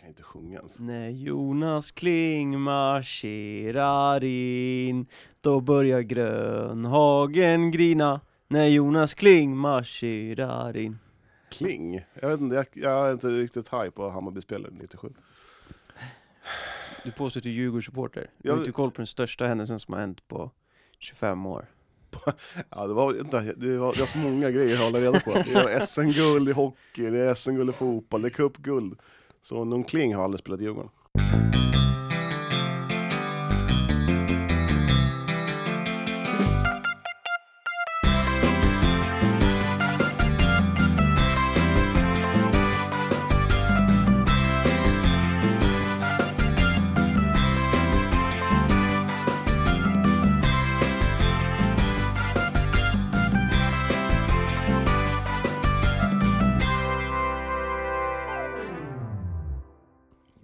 kan inte sjunga ens. När Jonas Kling marscherar in Då börjar grönhagen grina När Jonas Kling marscherar in Kling? Jag, vet inte, jag, jag är inte riktigt haj på Hammarbyspelaren 97. Du påstår att du är Djurgårdssupporter Du Jag- har inte koll på den största händelsen som har hänt på 25 år Ja, det var, vänta, det var, det var så många grejer att hålla reda på. Det är SM-guld i hockey, det är SM-guld i fotboll, det är cupguld. Så någon Kling har aldrig spelat i Djurgården.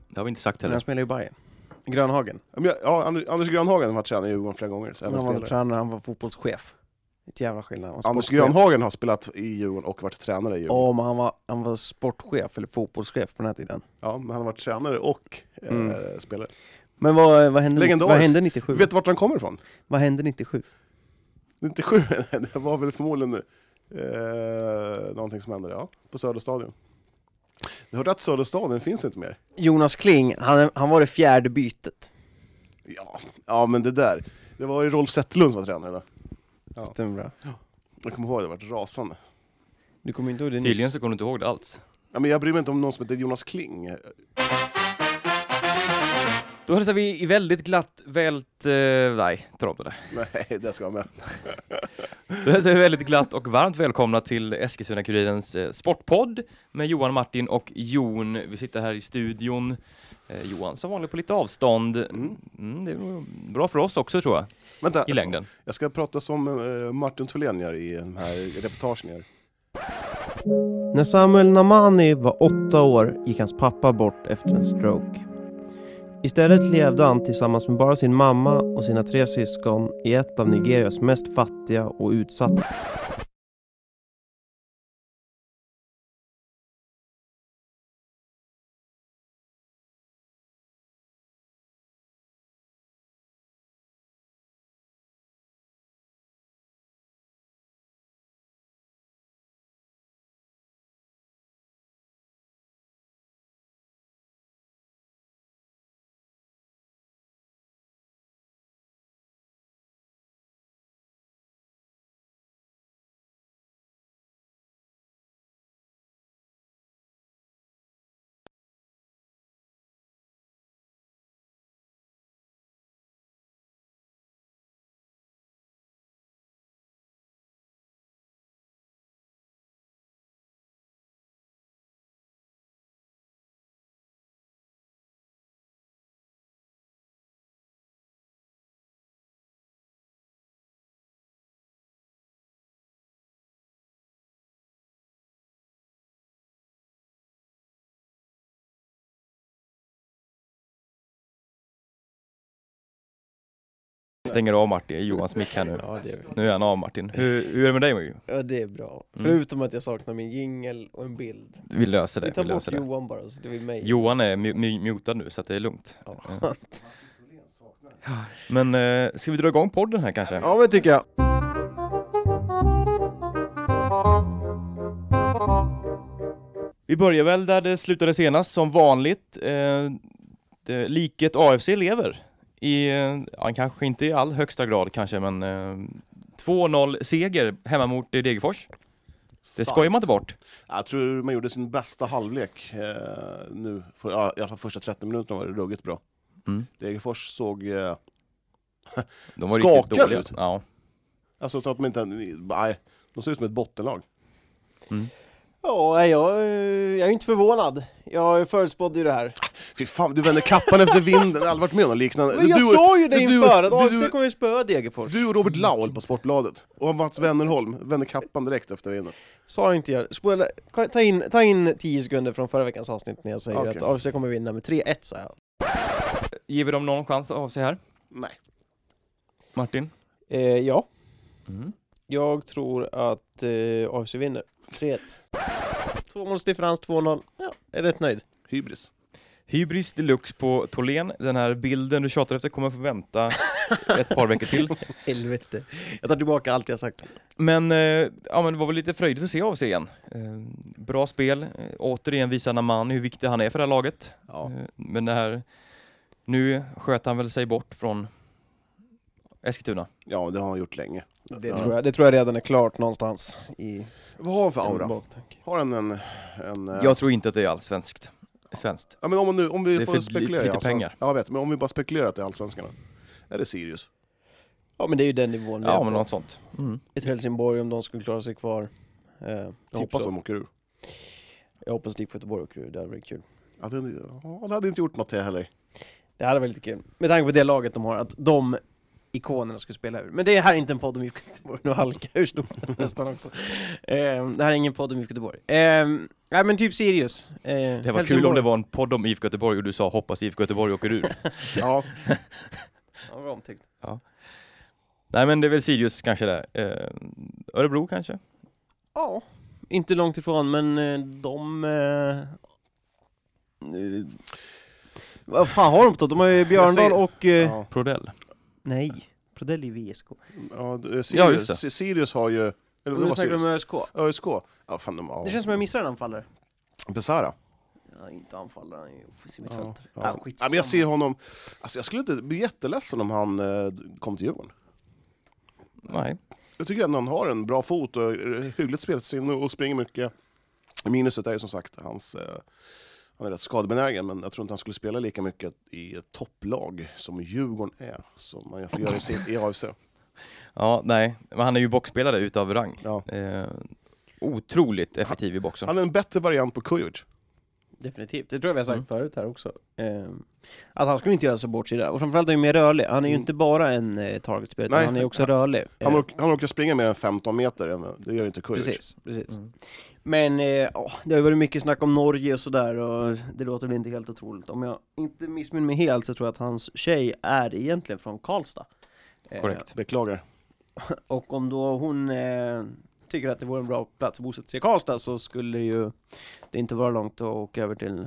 Det har vi inte sagt Men heller. han spelar ju i Bayern Grönhagen Ja, Men jag, ja, Anders- Anders Grönhagen har varit tränare i Djurgården flera gånger. Så även Han var spelare. tränare, han var fotbollschef Ett jävla skillnad Han var Anders sportchef. Grönhagen har spelat i Djurgården och varit tränare i Djurgården. Ja, men han var, han var sportchef eller fotbollschef på den här tiden Ja, men han har varit tränare och eh, Mm. spelare. Men vad, vad, hände, Legendarisk. vad hände 97? Vet du vart han kommer ifrån? Vad hände 97? 97? Det var väl förmodligen eh, någonting som hände, ja. På Söderstadion. Jag hörde att Söderstadion finns inte mer. Jonas Kling, han, han var det fjärde bytet. Ja, ja men det där. Det var ju Rolf Zetterlund som var tränare då. Stämmer bra. Jag kommer ihåg, det varit rasande. Du kommer inte ihåg det Tydligen nyss? så kommer du inte ihåg det alls. Ja, men jag bryr mig inte om någon som heter Jonas Kling. Då hälsar vi i väldigt glatt vält... Eh, nej, ta om det där. Nej, det ska jag med. Då hälsar vi väldigt glatt och varmt välkomna till Eskilstuna-Kurirens eh, sportpodd med Johan, Martin och Jon. Vi sitter här i studion. Eh, Johan som vanligt på lite avstånd. Mm. Mm, det är nog bra för oss också tror jag, Vänta, i jag ska- längden. jag ska prata som eh, Martin Thulén gör i den här reportagen. Här. När Samuel Namani var åtta år gick hans pappa bort efter en stroke. Istället levde han tillsammans med bara sin mamma och sina tre syskon i ett av Nigerias mest fattiga och utsatta Stänger av Martin, Johans mick här nu. Ja, det är Nu är han av Martin. Hur, hur är det med dig Martin? Ja, det är bra. Mm. Förutom att jag saknar min jingel och en bild. Vi löser det. Vi tar vi löser bort det. Johan bara, så det blir mig. Johan är mu- mu- mutad nu så att det är lugnt. Ja. Men eh, ska vi dra igång podden här kanske? Ja, men tycker jag. Vi börjar väl där det slutade senast, som vanligt. Eh, det, liket AFC lever. I, eh, ja, kanske inte i all högsta grad kanske, men eh, 2-0 seger hemma mot eh, Degerfors. Det skojar man inte bort. Jag tror man gjorde sin bästa halvlek eh, nu. För, ja, I alla fall första 30 minuterna var det ruggigt bra. Mm. Degerfors såg... Eh, De var riktigt Skakar dåliga. ut. Ja. alltså, att de inte... Nej, de ser ut som ett bottenlag. Ja, nej, jag, eh, jag är inte förvånad. Jag förutspådde ju det här. Fy fan, du vänder kappan efter vinden. Jag har aldrig varit med om något liknande. Men jag du, sa ju det du- inför att du- AFC kommer ju spöa Degerfors. du och Robert Laul på Sportbladet. Och Mats Wennerholm vänder kappan direkt efter vinden. Sa inte jag. Spola, ta, in, ta in 10 sekunder från förra veckans avsnitt när jag säger Okej. att AFC kommer vinna med 3-1 sa jag. Ger vi dem någon chans av sig här? Nej. Martin? Eh, ja, Mm. jag tror att eh, AFC vinner. 3-1. Tvåmålsdifferens, 2-0. Ja, jag är rätt nöjd. Hybris. Hybris deluxe på Tholén. Den här bilden du tjatar efter kommer få vänta ett par veckor till. Helvete. Jag tar tillbaka allt jag sagt. Men, eh, ja, men det var väl lite fröjdigt att se AFC igen. Eh, bra spel. Eh, återigen visar Namani hur viktig han är för det här laget. Ja. Eh, Men det här, nu sköt han väl sig bort från Eskilstuna. ja, det har han gjort länge. Det, Ja. tror jag, det tror jag redan är klart någonstans i... Vad har han för aura? Baktanke. Har han en... en eh, Mm. Jag tror inte att det är alls svenskt. svenskt. ja, men om, man nu, om vi Det är får för li- spekulera lite i allsvenskan. pengar. Ja, jag vet. Men om vi bara spekulerar att det är allsvenskarna. Är det Sirius? Ja men det är ju den nivån vi Ja, är men på. något sånt. Mm. Ett Helsingborg om de skulle klara sig kvar. Eh, jag, Jag hoppas hoppas så. de åker ur. jag hoppas IFK Göteborg åker ur, det hade varit kul. Ja, det, ja, det hade inte gjort något till heller. Det hade varit lite kul. Med tanke på det laget de har, att de ikonerna skulle spela ur. Men det här är inte en podd om IFK Göteborg, nu halkar jag ur stolen nästan också. Eh, det här är ingen podd om IFK Göteborg. Eh, nej men typ Sirius. Eh, Det var kul om det var en podd om IFK Göteborg och du sa hoppas IFK Göteborg åker ur. Ja, Ja, bra omtyckt. Nej men det är väl Sirius kanske det. Eh, Örebro kanske? Ja, inte långt ifrån, men eh, de... Eh, eh, vad fan har de på topp? De har ju Björndal säger- och... Eh, ja. Prodell? Nej, Prodell är ju VSK. ja, det- Ja, just Sirius, det. Sirius har ju... Eller Nu vad snackar Sirius? de om ÖSK. ÖSK? Ja, fan, de, ja. Det känns som jag missar en anfallare. Besara? Ja, inte anfallare, han är ju offensiv Ja, mittfältare. ja. Ah, Ja, men jag ser honom... Alltså, jag skulle inte bli jätteledsen om han eh, kom till Djurgården. Nej. Jag tycker ändå han har en bra fot och eh, hyggligt spelsinne och springer mycket. Minuset är ju som sagt hans... Eh, han är rätt skadebenägen, men jag tror inte han skulle spela lika mycket i ett topplag som Djurgården är, som man får göra i sitt- i AFC. Ja, nej. Men han är ju boxspelare utav rang. Ja. Eh, otroligt effektiv i boxen. Han är en bättre variant på Kujovic. Definitivt, det tror jag vi har sagt Mm. förut här också. Eh, att han skulle inte göra så bort sig där. Och framförallt är han ju mer rörlig. Han är ju Mm. inte bara en eh, targetspelare, utan Nej. han är också rörlig. Eh, Han, ork- han orkar springa mer än 15 meter, än- det gör inte Kujovic. Precis, precis. Mm. Men eh, åh, det har ju varit mycket snack om Norge och sådär och det låter väl inte helt otroligt. Om jag inte missminner mig helt så tror jag att hans tjej är egentligen från Karlstad. Eh, Korrekt. Beklagar. och om då hon eh, tycker att det vore en bra plats att bosätta sig i Karlstad så skulle ju det inte vara långt att åka över till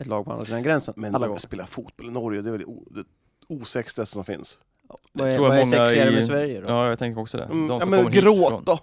ett lag på andra sidan gränsen Men alla Alla gånger. spela fotboll i Norge, det är väl det o- det osexigaste som finns. Vad är, tror jag vad är många sexigare i- med Sverige då? Ja, jag tänker också det. Mm, De ja, som men kommer hit gråt från- då!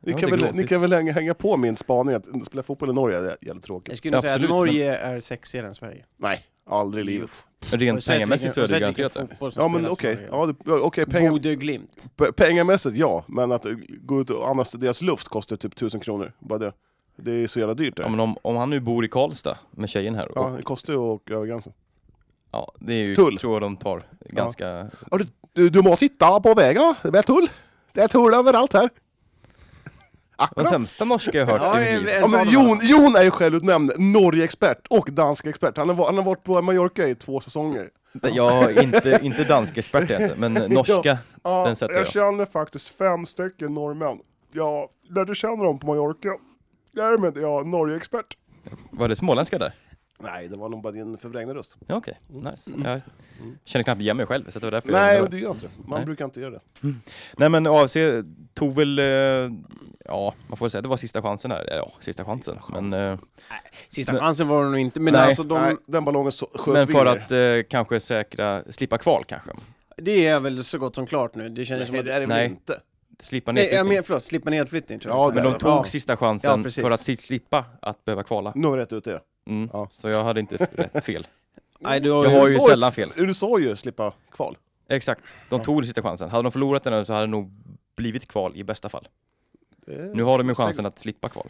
Ni Ja, kan, det är väl, ni gråtigt. kan väl hänga- hänga på min spaning att spela fotboll i Norge det är jävligt tråkigt. Jag skulle nog säga att Absolut, men- Norge är sexigare än Sverige. Nej, aldrig i livet. Rent pengamässigt så är det garanterat det. Ja men okej, ja, det- ja, okej, pengar- Bodö Glimt. p- pengamässigt ja, men att eh, gå ut och andas deras luft kostar typ 1000 kronor. Bara det. Det är så jävla dyrt Ja, det. men om, om han nu bor i Karlstad med tjejen här, Ja, och, det kostar ju att åka över gränsen. ja, det är ju, Tull. tror jag de tar ganska... Du, du må titta på vägen, det är tull! Det är tull överallt här! Den Akkurat! sämsta norska jag hört i mitt liv. Ja, men Jon, Jon är ju självutnämnd Norge-expert och dansk-expert. Han, har va- han har varit på Mallorca i två säsonger. Jag är inte, inte danskexpert är jag inte, men norska. Ja, Den sätter jag. känner faktiskt fem stycken norrmän. Jag lärde känna dem på Mallorca. Därmed är jag Norge-expert. Var det småländska där? Nej, det var nog bara din förvrängda röst. Ja, okej. Nice. Jag känner knappt igen mig själv, så det var därför Mm. Nej, jag men du gör inte det. Man Nej. brukar inte göra det. Nej men AFC tog väl, eh, ja man får väl säga att det var sista chansen här. Eller, Ja, sista chansen. Men, eh, Sista Men- chansen var det nog inte, men Nej. alltså de, Nej, den ballongen så- sköt men för vi ner. att eh, kanske säkra, slippa kval kanske. det är väl så gott som klart nu. Det känns Nej, som att... det är det Nej. väl inte? Slippa Nej, jag nedflyttning. men, förlåt, slippa nedflyttning tror jag. Ja, det det Men de Ja. tog sista chansen Ja, precis. för att si- slippa att behöva kvala. Nu har jag rätt ut det. Mm. Ja. Så jag hade inte rätt fel. Nej, du har Jag ju... har ju så- sällan fel. Du sa ju slippa kval. Exakt, de tog den sista chansen. Hade de förlorat den här så hade det nog blivit kval i bästa fall. Nu har de ju chansen att slippa kval.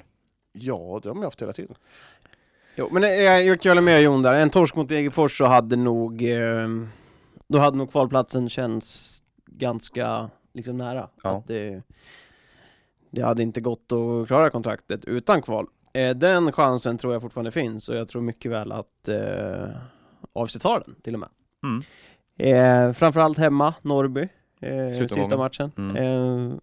Ja, det har man ju haft hela tiden. Jo, men eh, jag, jag kan hålla med Jon där. En torsk mot Degerfors så hade nog... Eh, då hade nog kvalplatsen känts ganska liksom nära. Ja. Att det, det hade inte gått att klara kontraktet utan kval. Eh, den chansen tror jag fortfarande finns och jag tror mycket väl att eh, AFC tar den till och med. Mm. Eh, framförallt hemma, Norrby, eh, Slutomgången. sista matchen. Mm. Eh,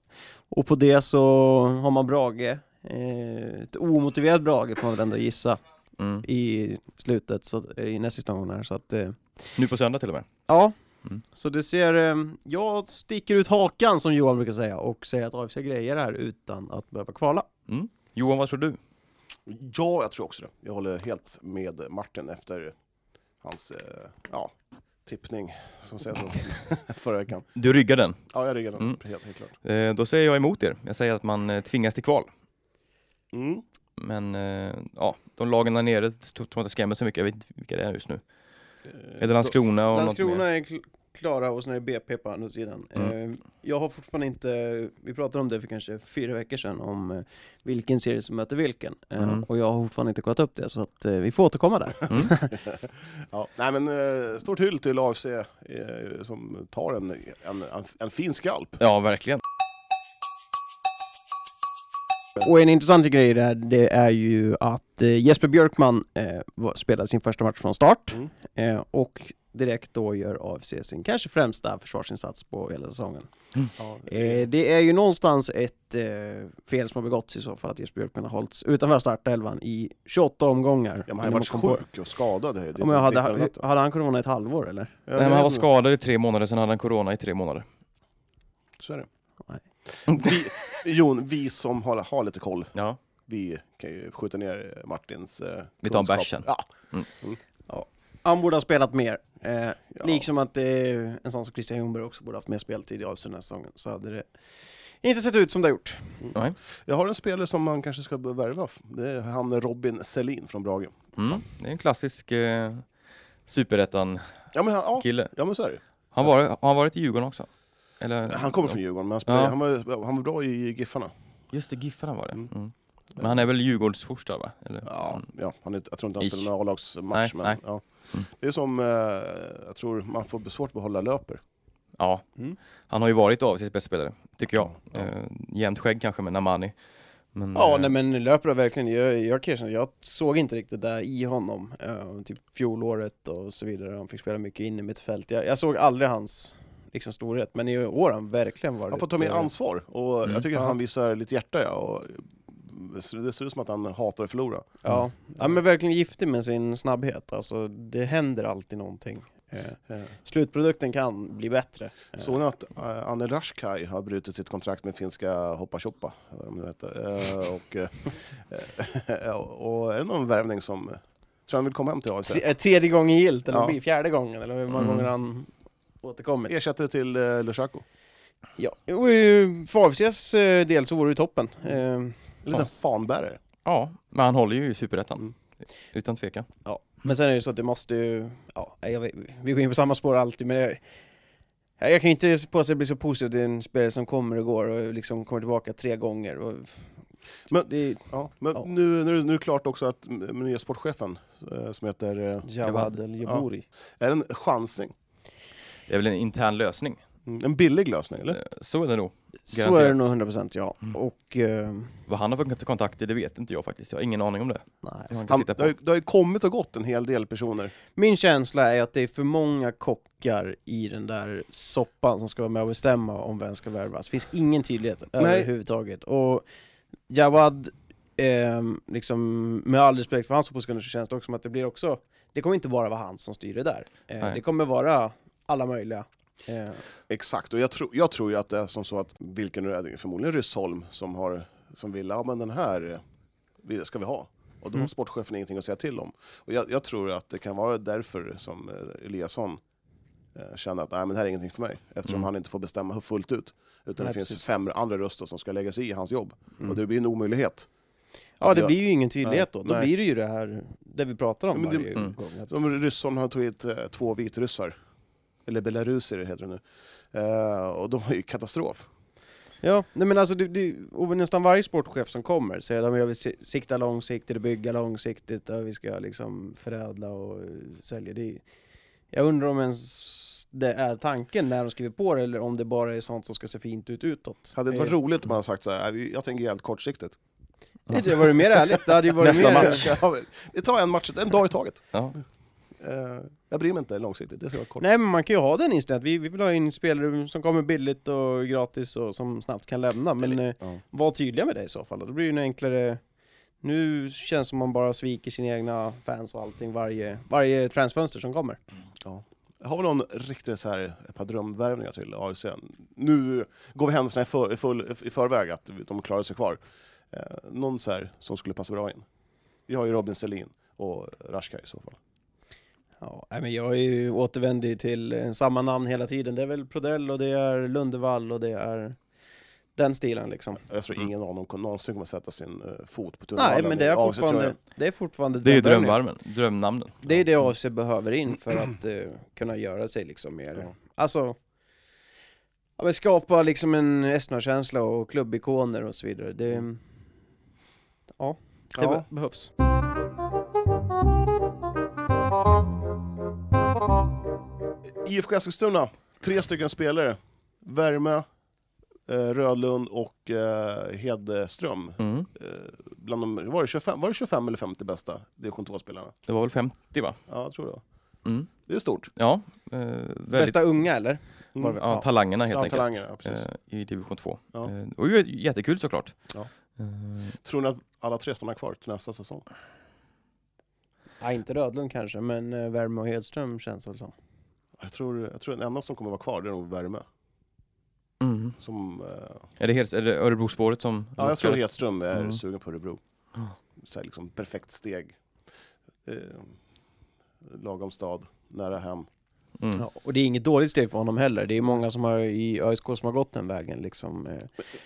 och på det så har man Brage, eh, ett omotiverat Brage får man väl ändå gissa Mm. i slutet, så, att- i näst sista omgången här. Så att, eh, Nu på söndag till och med. ja, Mm. så det ser, eh, jag sticker ut hakan som Johan brukar säga och säger att AFC grejer här utan att behöva kvala. Johan, vad tror du? Ja, jag tror också det. Jag håller helt med Martin efter hans eh, ja, tippning, som säga så, förra veckan. Du ryggar den. Ja, jag ryggar den, Mm. helt, helt klart. Eh, Då säger jag emot er. Jag säger att man eh, tvingas till kval. Mm. Men eh, ja, de lagen där nere tror tror jag inte skrämmer så mycket. Jag vet inte vilka det är just nu. Är Eh, det Landskrona och något Landskrona mer? är kl- klara och sen är det BP på andra sidan. Mm. Eh, jag har fortfarande inte, vi pratade om det för kanske fyra veckor sedan, om eh, vilken serie som möter vilken. Eh, Mm. Och jag har fortfarande inte kollat upp det, så att eh, vi får återkomma där. Mm. Ja, nej, men, eh, stort hyll till AFC eh, som tar en, en, en, en fin skalp. Ja, verkligen. Och en intressant grej där, det är ju att eh, Jesper Björkman eh, var- spelade sin första match från start Mm. eh, och direkt då gör AFC sin kanske främsta försvarsinsats på hela säsongen. Ja, Eh, det är ju någonstans ett eh, fel som har begåtts i så fall att Jesper Björkman har hållits utanför startelvan i 28 omgångar. men han När har man varit kom på- sjuk och skadad. Det, det, Ja, men hade, det- det- hade han corona ett halvår eller? Ja, Nej, men det- han var skadad i tre månader, sen hade han corona i tre månader. Så är det. Nej. Vi, Jon, vi som har, har lite koll, Ja. vi kan ju skjuta ner Martins eh, Vi tar en kunskap. bärs sen. Ja, Han borde ha spelat mer. Eh, ja. Liksom att eh, en sån som Christian Ljungberg också borde haft mer speltid i AFC den här säsongen så hade det inte sett ut som det har gjort. Jag har en spelare som man kanske ska värva. Det är han Robin Selin från Brage. Mm. Det är en klassisk eh, superettan-kille. Ja, men han, ja, ja, men så är det. Han var, har han varit i Djurgården också? Eller, Han kommer från Djurgården, men han, spelade, Ja. han, var, han var bra i Giffarna. Just det, Giffarna var det. Mm. Mm. Men han är väl Djurgårdsforstad va? Eller? Ja, ja, han är, jag tror inte han Mm. Ish. spelade någon Nej, A-lagsmatch. Men, nej. Ja. Mm. Det är som, eh, jag tror man får svårt att behålla löper. Ja. Mm. Han har ju varit av sitt bästa spelare, tycker jag. Ja. Eh, jämnt skägg kanske med Namani. Men, Ja, eh, nej, men löper har verkligen, jag, jag kan erkänna, jag såg inte riktigt det i honom. Eh, typ fjolåret och så vidare, han fick spela mycket in i mitt fält. Jag, jag såg aldrig hans liksom, storhet, men i år har han verkligen varit... Han får ta mer eh, ansvar och Mm. jag tycker Ja. han visar lite hjärta. Ja, och så det ser ut som att han hatar att förlora. Ja, ja men verkligen giftig med sin snabbhet. Alltså, det händer alltid någonting. Eh, Eh, slutprodukten kan bli bättre. Eh, Såg ni att eh, Anne Rashkai har brutit sitt kontrakt med finska Hoppa Choppa? Vad de nu heter. Eh, och, eh, och är det någon värvning som... eh, Tror han vill komma hem till AFC? tre, eh, tredje gången gilt, eller Ja. ja. blir fjärde gången, eller hur många Mm. gånger han återkommit. Ersättare till eh, Lushako. Ja, jo, eh, för AFCs eh, del så vore det ju toppen. Eh, En liten fanbärare. ja, men han håller ju i superettan. Mm. Utan tvekan. Men sen är det så att det måste ju, ja, jag vet, vi går in på samma spår alltid men jag, jag jag kan ju inte på sig bli så positiv till en spelare som kommer och går och liksom kommer tillbaka tre gånger. Och, Men- det är Ja, men Ja. Nu, nu, nu är det klart också att m- m- nya sportchefen eh, som heter... eh, Jawad El Jabouri. Är det en chansning? Det är väl en intern lösning. Mm, En billig lösning, eller? Eh, Så är det nog. Så är det Garanterat. nog 100% ja. Mm. Och eh, Vad han har för kontakter, det vet inte jag faktiskt. Jag har ingen aning om det. nej. Vad Han kan Han, sitta det, på. har ju, det har ju kommit och gått en hel del personer. Min känsla är att det är för många kockar i den där soppan som ska vara med och bestämma om vem ska värvas. Det finns ingen tydlighet Nej. överhuvudtaget. Och Jawad, ehm, liksom, med all respekt för hans position så känns det också som att det blir också, det kommer inte bara vara han som styr det där. Eh, Nej. det kommer vara alla möjliga. Eh, Exakt, och jag, tror jag tror ju att det är som så att vilken nu är det? Förmodligen Ryssholm som, har, som vill, ja men den här eh, vi- ska vi ha. Och då har Mm. sportchefen ingenting att säga till om. Och jag, jag tror att det kan vara därför som eh, Eliasson eh, känner att nej, men det här är ingenting för mig. Eftersom Mm. han inte får bestämma fullt ut. Utan Nej, det finns precis. fem andra röster som ska lägga sig i hans jobb. Mm. Och det blir en omöjlighet. ja, Att det jag- blir ju ingen tydlighet då. Då Nej. blir det ju det här, det vi pratar om Ja, men det- varje Mm. gång. Att, De Ryssholm har tagit eh, två vitryssar. Eller belarusier heter det nu. Eh, och de var ju katastrof. Ja, nej men alltså du, du, och nästan varje sportchef som kommer säger att "Ja, men jag vill si- sikta långsiktigt och bygga långsiktigt och vi ska liksom förädla och eh, sälja. Det, är- jag undrar om ens det är tanken när de skriver på det eller om det bara är sånt som ska se fint ut utåt. Hade det inte varit Eh, roligt om man hade sagt så här, "Nej, vi- jag tänker jävligt kortsiktigt. nej, Det var ju mer ärligt, det hade ju varit Nästa mer... match. Ja, men Vi tar en match, en dag i taget. Ja. Eh, Jag bryr mig inte långsiktigt, det ska vara kort. Nej men man kan ju ha den inställningen, att vi, vi vill ha in spelare som kommer billigt och gratis och som snabbt kan lämna. Men eh, Ja. var tydliga med det i så fall, då blir det ju en enklare nu känns det som man bara sviker sina egna fans och allting varje, varje transfönster som kommer. Har vi någon riktigt så här, ett par drömvärvningar till AFC? Nu går vi händelserna i, för, i, full, i förväg, att de klarar sig kvar. Eh, Någon så här som skulle passa bra in. Vi har ju Robin Selin och Rashkai i så fall. Ja, nej, men jag är ju återvändig till eh, samma namn hela tiden. Det är väl Prodell och det är Lundevall och det är den stilen liksom. Jag tror ingen av dem kom- någonsin kommer sätta sin eh, fot på Nej, tunnelbanan. men det är Ja, så tror jag- fortfarande, det är fortfarande Det är ju drömmen. drömvarmen, drömnamnen. Det är det AFC behöver in för att eh, kunna göra sig liksom mer, alltså, ja, men skapa liksom en Esna-känsla och klubbikoner och så vidare. Det, Mm. ja, det Ja. be- behövs. IFK Eskilstuna, tre stycken spelare. Värme, eh, Rödlund och eh, Hedström. Mm. Eh, bland de, var, det 25, var det 25 eller 50 bästa division 2-spelarna? Det var väl 50 va? Ja, jag tror det. Mm. Det är stort. Ja, eh, väldigt, Bästa unga eller? Mm. Var- ja, talangerna helt Ja, enkelt. talanger, ja, precis. eh, I division 2. Ja. Eh, och ju jättekul såklart. Ja. Eh, Tror ni att alla tre stannar kvar till nästa säsong? Ja, inte Rödlund kanske, men eh, Värme och Hedström känns väl som. Jag tror, jag tror den enda som kommer vara kvar det är nog Värme. mm. Som, eh, Är, det helt, är det Örebrospåret som ja, lockar? jag tror Hedström är Mm. sugen på Örebro. Ja. Så här, liksom, perfekt steg. Eh, lagom stad, nära hem. mm. Ja, och det är inget dåligt steg för honom heller. Det är många som har i ÖSK som har gått den vägen liksom. eh,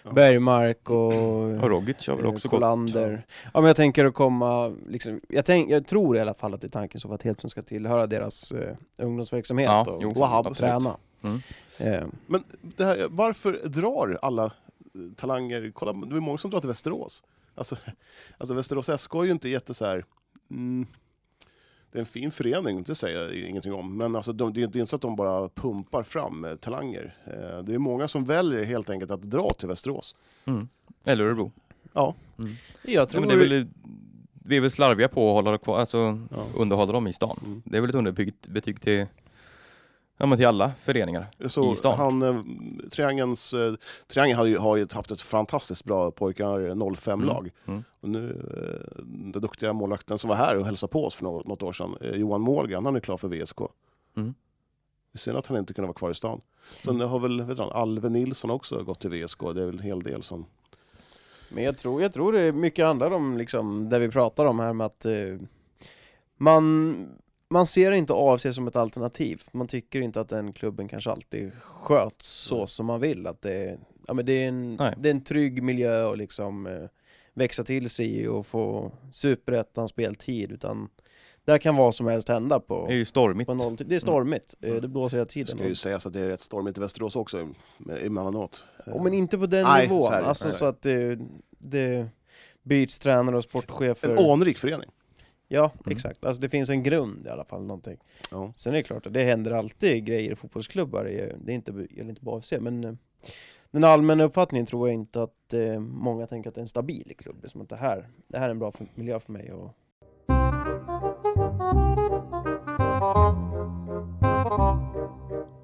Ja. Bergmark Och och Rogic Mm. har väl eh, också gått. Kolander. Ja men jag tänker att komma, liksom, jag, tänk, jag tror i alla fall att det är tanken så att Hedström ska tillhöra deras eh, ungdomsverksamhet Ja, och jo, Wahab. absolut. träna. Mm. Eh, Men det här, varför drar alla eh, talanger, kolla, det är många som drar till Västerås. Alltså, alltså Västerås SK är ju inte jätte så här, mm, det är en fin förening, det säger jag ingenting om, men alltså, de, det är det är inte så att de bara pumpar fram eh, talanger. Eh, Det är många som väljer helt enkelt att dra till Västerås. Mm. Eller Örebro. Mm. jag Ja, tror men det är väl, vi är väl slarviga på att hålla det kvar, alltså Ja. underhålla dem i stan. Mm. Det är väl ett underbyggt betyg till, ja, men till alla föreningar. Så I stan. han, eh, triangens, eh, triangeln hade ju, har ju haft ett fantastiskt bra pojkar 05-lag. Mm. Och nu, eh, den duktiga målvakten som var här och hälsade på oss för något, något år sedan, eh, Johan Målgren, han är klar för VSK. Mm. Det är Synd att han inte kunde vara kvar i stan. Sen har väl vet du, Alve Nilsson också gått till VSK, det är väl en hel del som... Men jag tror, jag tror det mycket handlar om liksom, det vi pratar om här med att eh, man, man ser inte AFC som ett alternativ. Man tycker inte att den klubben kanske alltid sköts så som man vill. Att det, ja, men det, är, en, Nej. det är en trygg miljö att liksom, eh, växa till sig i och få superettans speltid. Utan där kan vad som helst hända Det är på, ju Mm. stormigt. på nolltid. Det är stormigt, Eh, det blåser hela Det ska tiden. ju sägas att det är rätt stormigt i Västerås också eh, emellanåt. Och eh, men inte på den Nej, så nivån. är det. Alltså Nej. så att det, det byts tränare och sportchefer. Eh, En anrik förening. Ja, Mm. exakt. Alltså det finns en grund i alla fall, någonting. Ja. Sen är det klart att det händer alltid grejer i fotbollsklubbar, det är- det är inte, gäller inte bara AFC, men eh, den allmänna uppfattningen tror jag inte att eh, många tänker att det är en stabil klubb, Det är som att det här, det här är en bra för, miljö för mig. Och...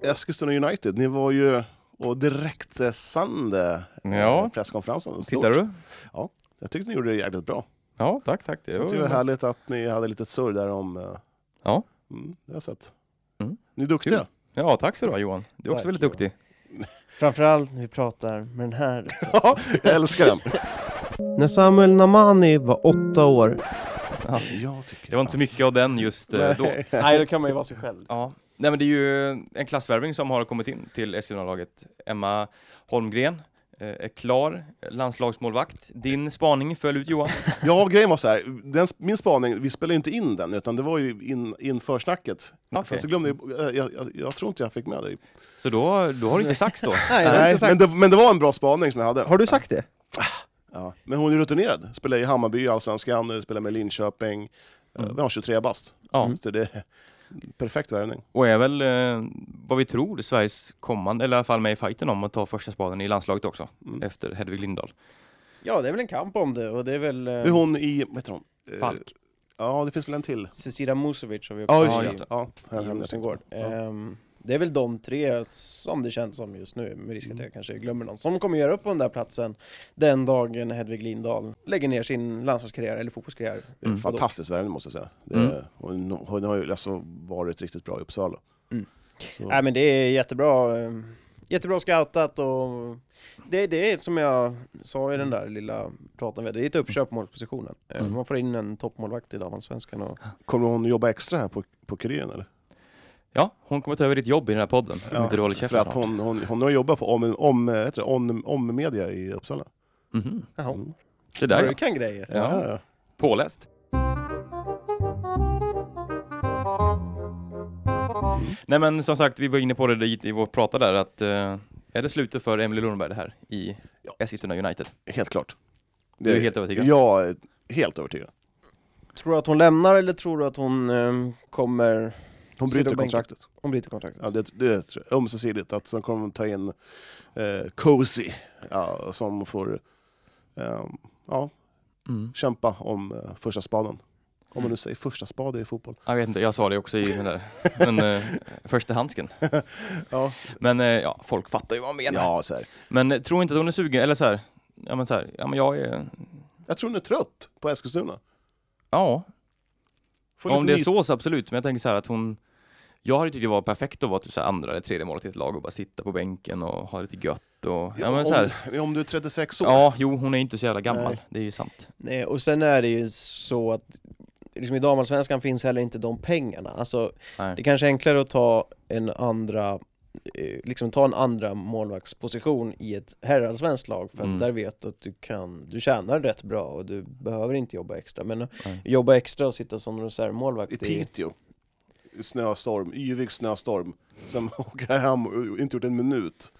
Eskilstuna United, ni var ju och direktsände eh, Ja. presskonferensen. Stort. Tittar du? Jag tyckte ni gjorde det jäkligt bra. Ja, tack, tack. Det Jag var tycker det ju- var härligt att ni hade lite surr där om... eh, Ja. Mm, det har jag sett. Mm. Ni är duktiga. Kul. Ja, tack så du ha, Johan. Du är också Tack, väldigt Johan. duktig. Framförallt när vi pratar med den här. Ja, jag älskar den. När Samuel Namani var åtta år Jag tycker Det var inte så mycket av den just eh, då. Nej, då kan man ju vara sig själv. Ja. Nej men det är ju en klassvärvning som har kommit in till Eskilstuna-laget. Emma Holmgren eh, är klar, landslagsmålvakt. Din spaning föll ut Johan. Ja, grejen var så här. Den, min spaning, vi spelade ju inte in den, utan det var ju in, inför snacket. Okej. Sen så glömde jag, eh, jag, jag, jag tror inte jag fick med dig. Så då, då har det inte sagts då. Nej, det har inte men, sagt. det, men det var en bra spaning som jag hade. Ah. Har du sagt det? Ja. Men hon är rutinerad. Spelar i Hammarby i Allsvenskan, spelar med Linköping. Mm. Vi har 23 bast. Ja. Så det är perfekt värvning. Och är väl eh, vad vi tror Sveriges kommande, eller i alla fall med i fighten om att ta första spaden i landslaget också. Mm. Efter Hedvig Lindahl. Ja, det är väl en kamp om det och det är väl eh, Det är hon i, vad heter hon? Eh, Ehm, Falk. Ja, det finns väl en till. Cecilia Musovic har vi också Ja, haft just, Ja, det. just det. Ja, i här- här- Rosengård. Ja. Ehm, det är väl de tre som det känns som just nu, med risk att jag kanske glömmer någon, som kommer göra upp på den där platsen den dagen Hedvig Lindahl lägger ner sin landslagskarriär eller fotbollskarriär. Mm. Fantastisk värvning måste jag säga. Det, Mm. hon, hon har ju alltså varit riktigt bra i Uppsala. Mm. Äh, Så- Nej men det är jättebra eh, Jättebra scoutat och det, det är som jag sa i den där lilla praten vi hade, det är ett uppköp på målpositionen. Eh, Mm. Man får in en toppmålvakt i Allsvenskan och Kommer hon jobba extra här på, på Kuriren eller? Ja, hon kommer ta över ditt jobb i den här podden. Om inte du håller för käften att snart. hon, hon, hon har jobbat på om, om, vad heter det, om, om media i Uppsala. Mhm. Jaha. Mm. Se där du ja. kan grejer. ja. Ja, ja. Påläst. Nej men som sagt, vi var inne på det i, i vår prata där att eh, är det slutet för Emily Lundberg det här i Ja. Eskilstuna United? Helt klart. Du är helt övertygad? Jag är helt övertygad. Tror du att hon lämnar eller tror du att hon eh, kommer, Hon Sitter bryter på bänken. kontraktet. hon bryter kontraktet? Ja, det, det tror jag. Ömsesidigt. Att sen kommer de ta in eh, Cozy ja, som får eh, ja, Mm. kämpa om eh, första spaden. Om man nu säger första spade i fotboll. Jag vet inte, jag sa det också i den där men, eh, första handsken. Ja. Men eh, ja, folk fattar ju vad man menar. Ja, så här. Men eh, tror inte att hon är sugen, eller så här, ja men så här, ja men jag är, Jag tror hon är trött på Eskilstuna. ja, Får om lite det är ny- så så absolut, men jag tänker så här att hon, jag hade tyckt det var perfekt att vara typ så här andra eller tredje målet i ett lag och bara sitta på bänken och ha lite gött och, ja, Ja, men om, så här, om du är 36 år. ja jo hon är inte så jävla gammal, Nej. det är ju sant. Nej, Eh, och sen är det ju så att liksom i damallsvenskan finns heller inte de pengarna. Alltså, Nej. det kanske är enklare att ta en andra eh, liksom ta en andra målvaktsposition i ett herrallsvenskt lag för att Mm. där vet du att du kan, du tjänar rätt bra och du behöver inte jobba extra men att Nej. jobba extra och sitta som reservmålvakt I det- Piteå. I Snöstorm, yvig snöstorm. Sen åker hem och inte gjort en minut.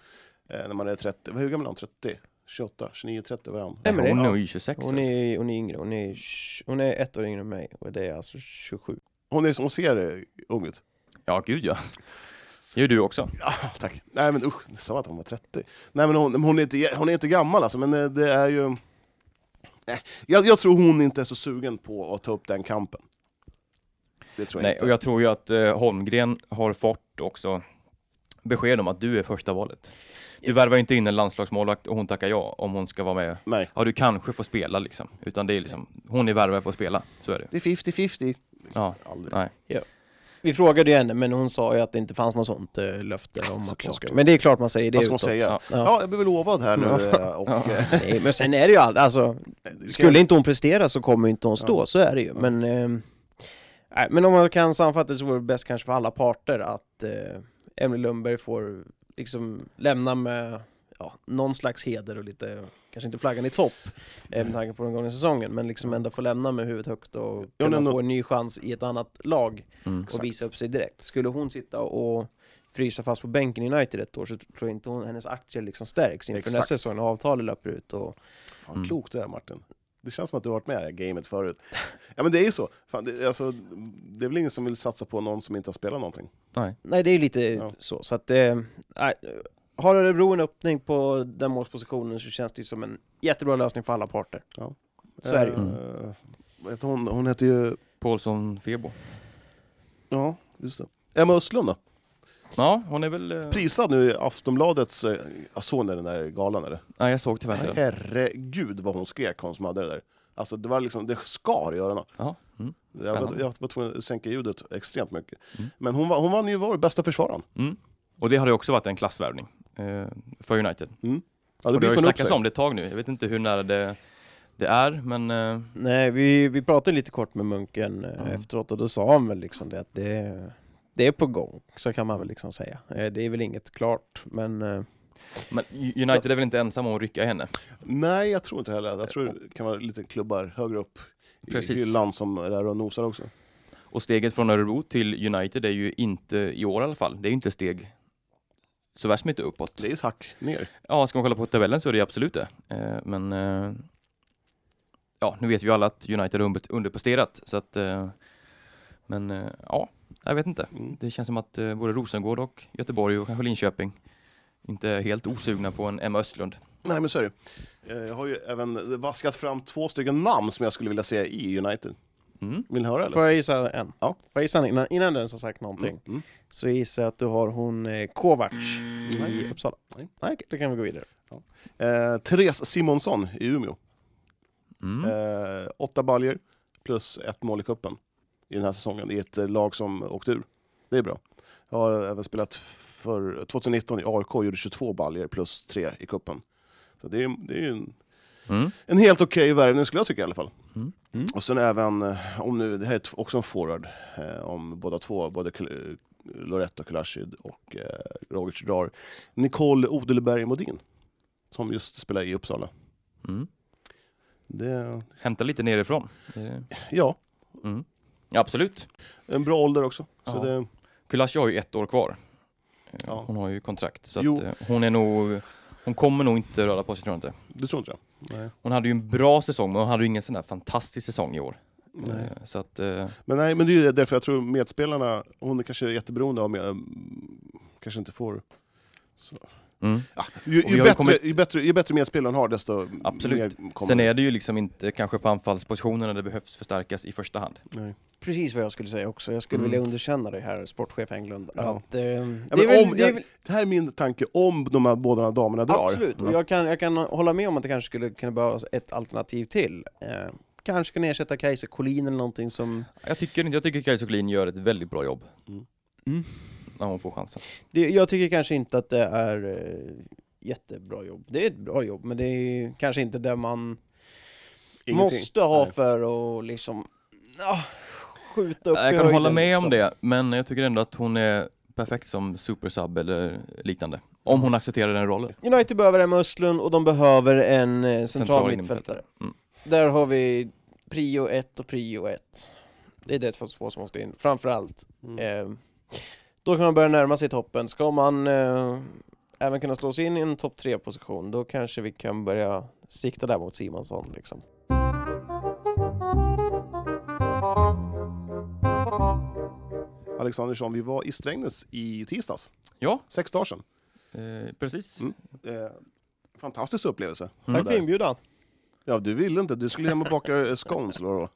Eh, när man är 30. Hur gammal är han? 30? 28? 29? 30? Vad är han? Nej, men det- hon ja. är ju 26. Hon är, hon är yngre, hon är, tj- hon är ett år yngre än mig och det är alltså 27 Hon, är, hon ser eh, ung ut. Ja gud ja. Det gör du också. Ja, tack. Nej men usch, jag sa att hon var 30. Nej men hon, men hon, är, inte, hon är inte gammal alltså, men eh, det är ju... Nej, jag, jag tror hon inte är så sugen på att ta upp den kampen. Det tror jag Nej, inte. och jag tror ju att eh, Holmgren har fått också besked om att du är första valet. Du värvar inte in en landslagsmålvakt och hon tackar ja om hon ska vara med. Nej. Ja, du kanske får spela liksom. Utan det är liksom, hon är värvad för att spela. Så är det. Det är 50-50. Ja, Aldrig. nej. Vi frågade ju henne men hon sa ju att det inte fanns något sånt eh, löfte om att hon såklart. skulle, men det är klart man säger det Vad ska hon utåt. säga? Ja. Ja. jag blev lovad här nu. eh, Och, eh, Nej, men sen är det ju aldrig, alltså, det ska- skulle inte hon prestera så kommer inte hon stå, så är det ju. Men, ehm, nej, men om man kan sammanfatta det så vore det bäst kanske för alla parter att eh, Emily Lundberg får liksom lämna med ja, någon slags heder och lite, kanske inte flaggan i topp eh, med tanke på den gångna säsongen, men liksom ändå få lämna med huvudet högt och men kunna ändå- få en ny chans i ett annat lag Mm. och visa upp sig direkt. Skulle hon sitta och frysa fast på bänken i United ett år så tror jag inte hon, hennes aktier liksom stärks inför Exakt. nästa säsong när avtalet löper ut. Och, Fan, Mm. klokt det här Martin. Det känns som att du har varit med i det här gamet förut. Ja men det är ju så. Fan, det, alltså, det är väl ingen som vill satsa på någon som inte har spelat någonting. nej, det är lite Ja. så. så att, eh, nej, har Örebro en öppning på den målspositionen så känns det ju som en jättebra lösning för alla parter. Så är det ju. Eh, vad heter hon? hon heter ju... Paulsson Febo. Ja, just det. Emma Östlund då? Ja, hon är väl... eh, Prisad nu i Aftonbladets... eh, Jag såg ni den där galan eller? Nej, jag såg tyvärr inte den. Herregud vad hon skrek hon som hade det där. Alltså det var liksom, det skar i öronen. Ja. Mm. Jag var, Spännande. jag var tvungen att sänka ljudet extremt mycket. Mm. Men hon, var, hon vann ju vår bästa försvararen. Mm. Och det hade ju också varit en klassvärvning eh, för United. Ja, och det har ju biter man upp snackats sig. om det ett tag nu. Jag vet inte hur nära det, det är, men... Eh, Nej, vi, vi pratade lite kort med Munken eh, Mm. efteråt och då sa han väl liksom det att det, det är på gång, så kan man väl liksom säga. Eh, det är väl inget klart, men eh, men United är väl inte ensamma om att rycka i henne? Nej, jag tror inte heller Jag tror det kan vara lite klubbar högre upp i Precis. hyllan som är där och nosar också. Och steget från Örebro till United är ju inte, i år i alla fall, det är ju inte steg så värst mycket uppåt. Det är ett hack ner. Ja, ska man kolla på tabellen så är det ju absolut det. Eh, men eh, ja, nu vet vi ju alla att United har under- underpresterat. Så att, eh, men eh, ja, jag vet inte. Mm. Det känns som att eh, både Rosengård och Göteborg och kanske Linköping inte är helt osugna på en Emma Östlund. Nej men så är det. Eh, Jag har ju även vaskat fram två stycken namn som jag skulle vilja se i United. Mm. Vill ni höra eller? får jag gissa en? Ja. Får jag gissa en innan, innan du ens har sagt någonting? Mm. Mm. Så gissar jag att du har hon eh, Kovacs i Nej. Uppsala. Nej. Nej, okej, då kan vi gå vidare. Eh, Therese Simonsson i Umeå. Mm. Eh, åtta baljer plus ett mål i cupen i den här säsongen i ett eh, lag som åkte ur. Det är bra. Jag har även spelat för 2019 i AIK och gjorde 22 baljer plus 3 i kuppen. Så det är, det är ju en, Mm. en helt okej värvning skulle jag tycka i alla fall. Mm. Mm. Och sen även, eh, om nu, det här är t- också en forward, eh, om båda två, både Kl- eh, Loretto Kulashid och eh, Roger Cedrar. Nicole Odelberg Modin, som just spelar i Uppsala. Mm. Det, Hämta lite nerifrån. Det- ja, Mm. Ja, absolut. en bra ålder också. Så Ja. det, Kulashi har ju ett år kvar. Eh, Ja. Hon har ju kontrakt. Så Jo. att, eh, hon är nog... Hon kommer nog inte röra på sig, tror jag inte. du tror inte det? Nej. Hon hade ju en bra säsong, men hon hade ju ingen sån där fantastisk säsong i år. Nej. Eh, Så att, eh, Men, nej, men det är ju därför jag tror medspelarna, hon är kanske jätteberoende av, med, kanske inte får... Så. mm. Ja, ju, Och vi ju, har ju bättre, kommit- ju, bättre, ju bättre medspelaren har, desto Absolut. mer kommer Sen är det ju liksom inte kanske på anfallspositionerna det behövs förstärkas i första hand. Nej. Precis vad jag skulle säga också. Jag skulle Mm. vilja underkänna det här, sportchef Englund. Ja. Att, eh, det, Ja, är men väl, om, det är jag, väl, det här är min tanke, om de här båda damerna drar. Mm. absolut. Och Ja. jag kan, jag kan hålla med om att det kanske skulle kunna behövas ett alternativ till. Eh, kanske kan ersätta Kajsa Collin eller någonting som... Jag tycker inte, jag tycker Kajsa Collin gör ett väldigt bra jobb. Mm. Mm. När hon får chansen. Det, jag tycker kanske inte att det är eh, jättebra jobb. Det är ett bra jobb, men det är kanske inte det man Ingenting. måste ha Nej. för att liksom ja, skjuta upp i Jag kan höjden, hålla med liksom. om det, men jag tycker ändå att hon är perfekt som supersub eller liknande. Om hon accepterar den rollen. United behöver en Östlund och de behöver en eh, central, Central mittfältare. Mm. Där har vi prio 1 och prio 1. Det är det två som måste in, framförallt. Mm. Eh, då kan man börja närma sig toppen. Ska man eh, även kunna slå sig in i en topp 3-position, då kanske vi kan börja sikta där mot Simonsson. Liksom. Eh, Alexandersson, vi var i Strängnäs i tisdags, Ja, sex dagar sedan. eh, precis. Mm. Eh, fantastisk upplevelse. Mm. Tack för inbjudan. Ja, du ville inte, du skulle hem och baka eh, scones. Laura.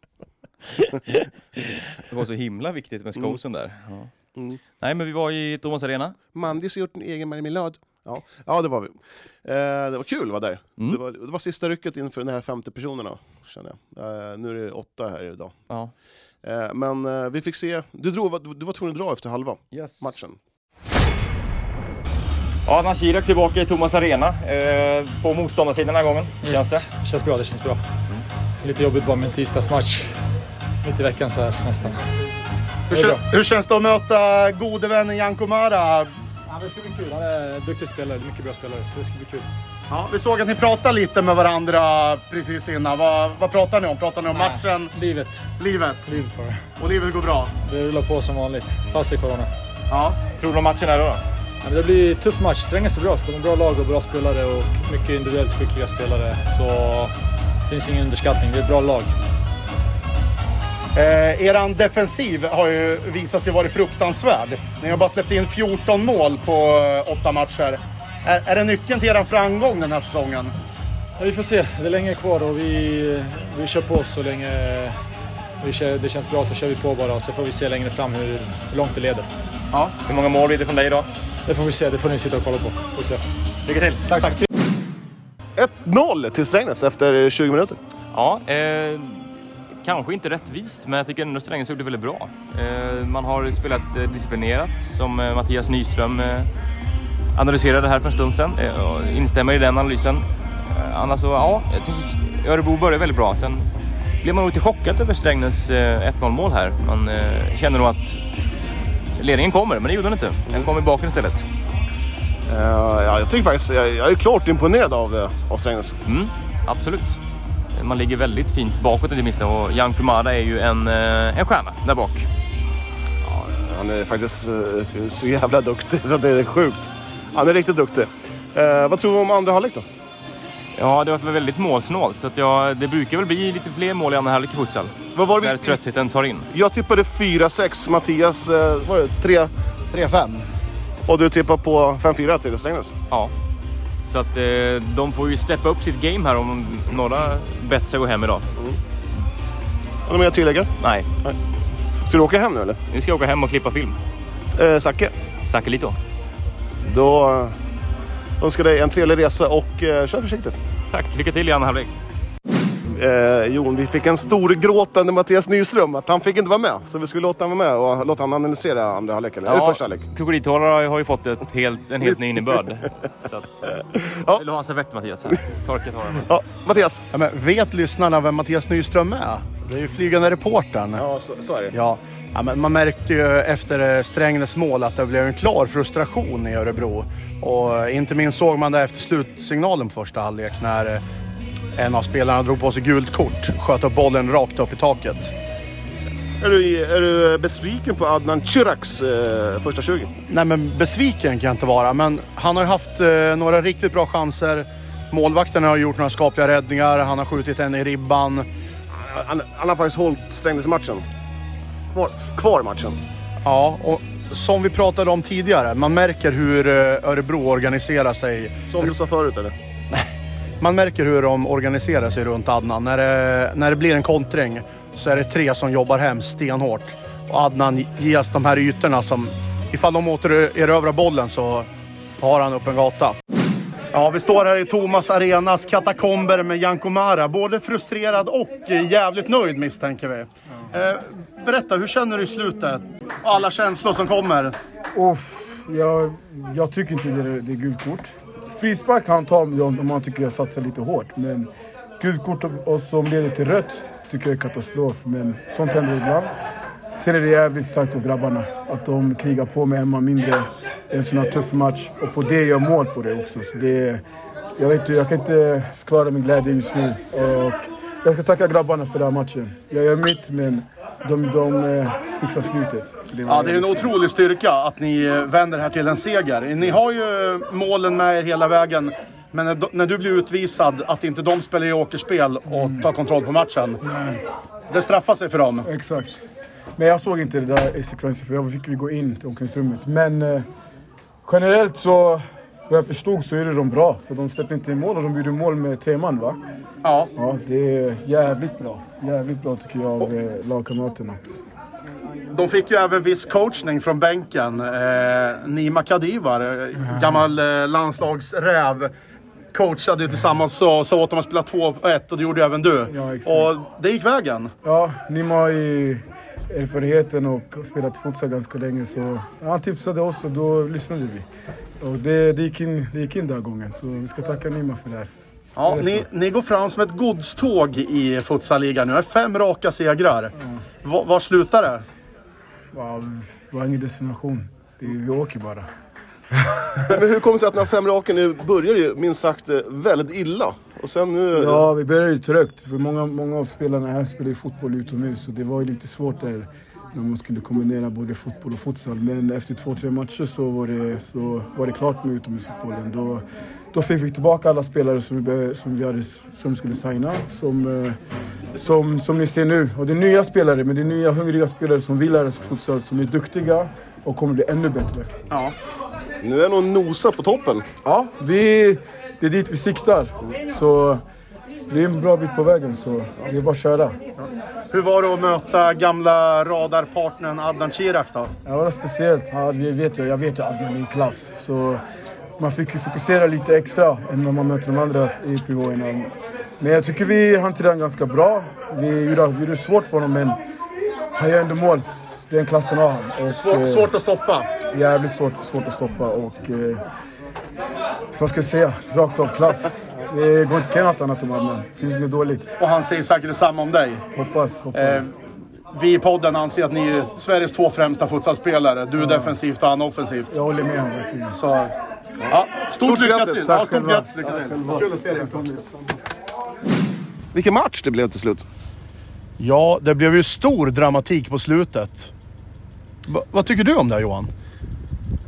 Det var så himla viktigt med skolsen där. Ja. Mm. Nej, men vi var i Thomas Arena. Mandis har gjort en egen marmelad. Ja, ja det var vi. Eh, det var kul att vara där. Mm. Det, var, det var sista rycket inför de här 50 personerna, känner jag. Eh, nu är det åtta här idag. Ja. Eh, men eh, vi fick se, du, drog, du, du var tvungen att dra efter halva Yes. matchen. Ja, Nashirak tillbaka i Thomas Arena eh, på motståndarsidan den här gången. Känns det? känns bra, det känns bra. Lite jobbigt bara med en tisdagsmatch. Mitt i veckan så här nästan. Hur, Det är kän- hur känns det att möta gode vännen Janko Mara? Ja, det ska bli kul. Han är duktig spelare, mycket bra spelare, så det ska bli kul. Ja, vi såg att ni pratade lite med varandra precis innan. Vad, vad pratar ni om? Pratar ni om matchen, Livet. livet? Livet bara. Och livet går bra? Det rullar på som vanligt, fast i corona. Ja. Tror du om matchen här då? Ja, men det blir en tuff match. Strängnäs är bra, så de är bra lag och bra spelare och mycket individuellt skickliga spelare. Så det finns ingen underskattning. Det är ett bra lag. Eh, eran defensiv har ju visat sig vara fruktansvärd. Ni har bara släppt in 14 mål på eh, åtta matcher. Är, är det nyckeln till eran framgång den här säsongen? Ja, vi får se. Det är länge kvar och vi, vi kör på så länge vi kör, det känns bra så kör vi på bara. Så får vi se längre fram hur, hur långt det leder. Hur många mål blir det från dig idag? Det får vi se. Det får ni sitta och kolla på. Får se. Lycka till! Tack så mycket. 1-0 till Strängnäs efter 20 minuter. Ja, Eh, kanske inte rättvist, men jag tycker ändå Strängnäs gjorde det väldigt bra. Eh, man har spelat eh, disciplinerat, som eh, Mattias Nyström eh, analyserade här för en stund sedan. Eh, och instämmer i den analysen. Eh, annars så, ja, jag tycker Örebro började väldigt bra. Sen blev man nog lite chockad över Strängnäs eh, 1-0 mål här. Man eh, känner nog att ledningen kommer, men det gjorde den inte. Den kom i baken istället. Eh, ja, jag tycker faktiskt, jag, jag är klart imponerad av, eh, av Strängnäs. Mm, absolut. Man ligger väldigt fint bakåt inte minst och Jan Kumada är ju en, eh, en stjärna där bak. Han är faktiskt eh, så jävla duktig så att det är sjukt. Han är riktigt duktig. Eh, vad tror du om andra halvlek då? Ja, det var väldigt målsnålt så att jag, det brukar väl bli lite fler mål i andra halvlek i futsal. Vad var Där det vi, tröttheten tar in. jag tippade 4-6, Mattias eh, var det 3 3-5. och du tippar på 5-4 till Strängnäs. Ja. Så att eh, de får ju steppa upp sitt game här om några bett ska gå hem idag. Har du mer att tillägga? Nej, Ska du åka hem nu eller? nu ska jag åka hem och klippa film. Eh, Zacke, Sakelito. då eh, önskar jag dig en trevlig resa och eh, kör försiktigt. Tack, lycka till i andra halvlek. eh, Jon, vi fick en stor gråtande Mattias Nyström att han fick inte vara med. Så vi skulle låta honom vara med och låta honom analysera andra halvlek, eller eller första halvlek. krokodiltårar har ju- har ju fått ett helt, en helt ny innebörd. Så att, Ja. Vill du ha en servett Mattias? Här? Torka tårarna. Ja, Mattias. Ja, men vet lyssnarna vem Mattias Nyström är? Det är ju flygande reportern. Ja, så, är det. Ja. Ja, men man märkte ju efter eh, Strängnäs mål att det blev en klar frustration i Örebro. Och eh, inte minst såg man det efter slutsignalen på första halvlek när eh, en av spelarna drog på sig gult kort. Sköt upp bollen rakt upp i taket. Är, du, är du besviken på Adnan Cyraks eh, första 20? Nej men besviken kan jag inte vara, men han har ju haft eh, några riktigt bra chanser. Målvakterna har gjort några skapliga räddningar, han har skjutit en i ribban. Han, han har faktiskt hållit Strängnäs-matchen. Kvar, kvar matchen. Ja, och som vi pratade om tidigare, man märker hur eh, Örebro organiserar sig Som du sa förut eller? Man märker hur de organiserar sig runt Adnan. När det, när det blir en kontring så är det tre som jobbar hem stenhårt. Och Adnan ges de här ytorna som... Ifall de återerövrar bollen så har han upp en gata. Ja, vi står här i Thomas Arenas katakomber med Janko Mara. Både frustrerad och eh, jävligt nöjd misstänker vi. Eh, berätta, hur känner du i slutet? Alla känslor som kommer. Uff, jag, jag tycker inte det är, det är gult kort. Frispark kan han ta om, om man tycker jag satsar lite hårt. Men gult kort och, och som leder till rött tycker jag är katastrof. Men sånt händer ibland. Sen är det jävligt starkt av grabbarna att de krigar på med en man mindre. En sån här tuff match. Och på det gör mål på det också. Så det, jag, vet inte, jag kan inte förklara min glädje just nu. Och jag ska tacka grabbarna för den här matchen. Jag gör mitt, men de, de eh, fixar slutet. Så var Ja, det är en jävligt kul. otrolig styrka att ni eh, vänder här till en seger. Ni har ju målen med er hela vägen. Men när do- när du blir utvisad, att inte de spelar i åkerspel och tar kontroll på matchen. Det straffar sig för dem. Exakt. Men jag såg inte det där i sekvensen för jag fick ju gå in till omklädningsrummet. Men eh, generellt så, vad jag förstod så är det de bra. För de släppte inte in mål och de gjorde mål med tre man va? Ja. Ja, det är jävligt bra. Jävligt bra tycker jag av eh, lagkamraterna. De fick ju även viss coachning från bänken. Eh, Nima Kadivar, eh, gammal eh, landslagsräv. Coachade ju tillsammans så sa åt dem att spela 2-1 och det gjorde ju även du. Ja, exakt. och det gick vägen. Ja, Nima har ju erfarenheten och har spelat futsal ganska länge så ja, han tipsade oss och då lyssnade vi. Och det, det, gick in, det gick in den här gången så vi ska tacka Nima för det här. Ja, Är det ni, ni går fram som ett godståg i futsalligan nu. Fem raka segrar. Mm. Va- var slutar det? Ja, vi har ingen destination. Det är, vi åker bara. Men hur kommer det sig att den här fem raken nu börjar ju minst sagt eh, väldigt illa? Och sen nu... Ja, vi började ju trögt. För många, många av spelarna här spelar ju fotboll utomhus så det var ju lite svårt där när man skulle kombinera både fotboll och futsal. Men efter två, tre matcher så var det, så var det klart med utomhusfotbollen. Då, då fick vi tillbaka alla spelare som vi, be- som vi hade, som skulle signa. Som, eh, som, som ni ser nu. Och det är nya spelare, men det är nya hungriga spelare som vill lära sig futsal, som är duktiga och kommer bli ännu bättre. Nu är nog nosar på toppen. Ja, vi, det är dit vi siktar. Så vi är en bra bit på vägen, så det är bara att köra. Hur var det att möta gamla radarpartnern Adnan Kirak då? Ja, det var speciellt. Ja, vi vet ju, jag vet ju att man är i klass. Så man fick ju fokusera lite extra än när man möter de andra i pivåerna. Men jag tycker vi hanterade honom ganska bra. Vi gjorde, vi gjorde svårt för honom, men han gör ändå mål. Den klassen har han. Och, eh, Svårt, svårt att stoppa. jävligt svårt, svårt att stoppa och... Eh, vad ska jag säga? Rakt av klass. Det går inte att säga något annat om Adnan. Finns inget dåligt. Och han säger säkert detsamma om dig. Hoppas, hoppas. Eh, vi i podden anser att ni är Sveriges två främsta futsalspelare. Du defensivt och han offensivt. Jag håller med honom verkligen. Så, ja, stort, lycka till! Tack Ja, stort själva. grattis! Lycka till! Kul att se dig! Vilken match det blev till slut. Ja, det blev ju stor dramatik på slutet. vad tycker du om det Johan?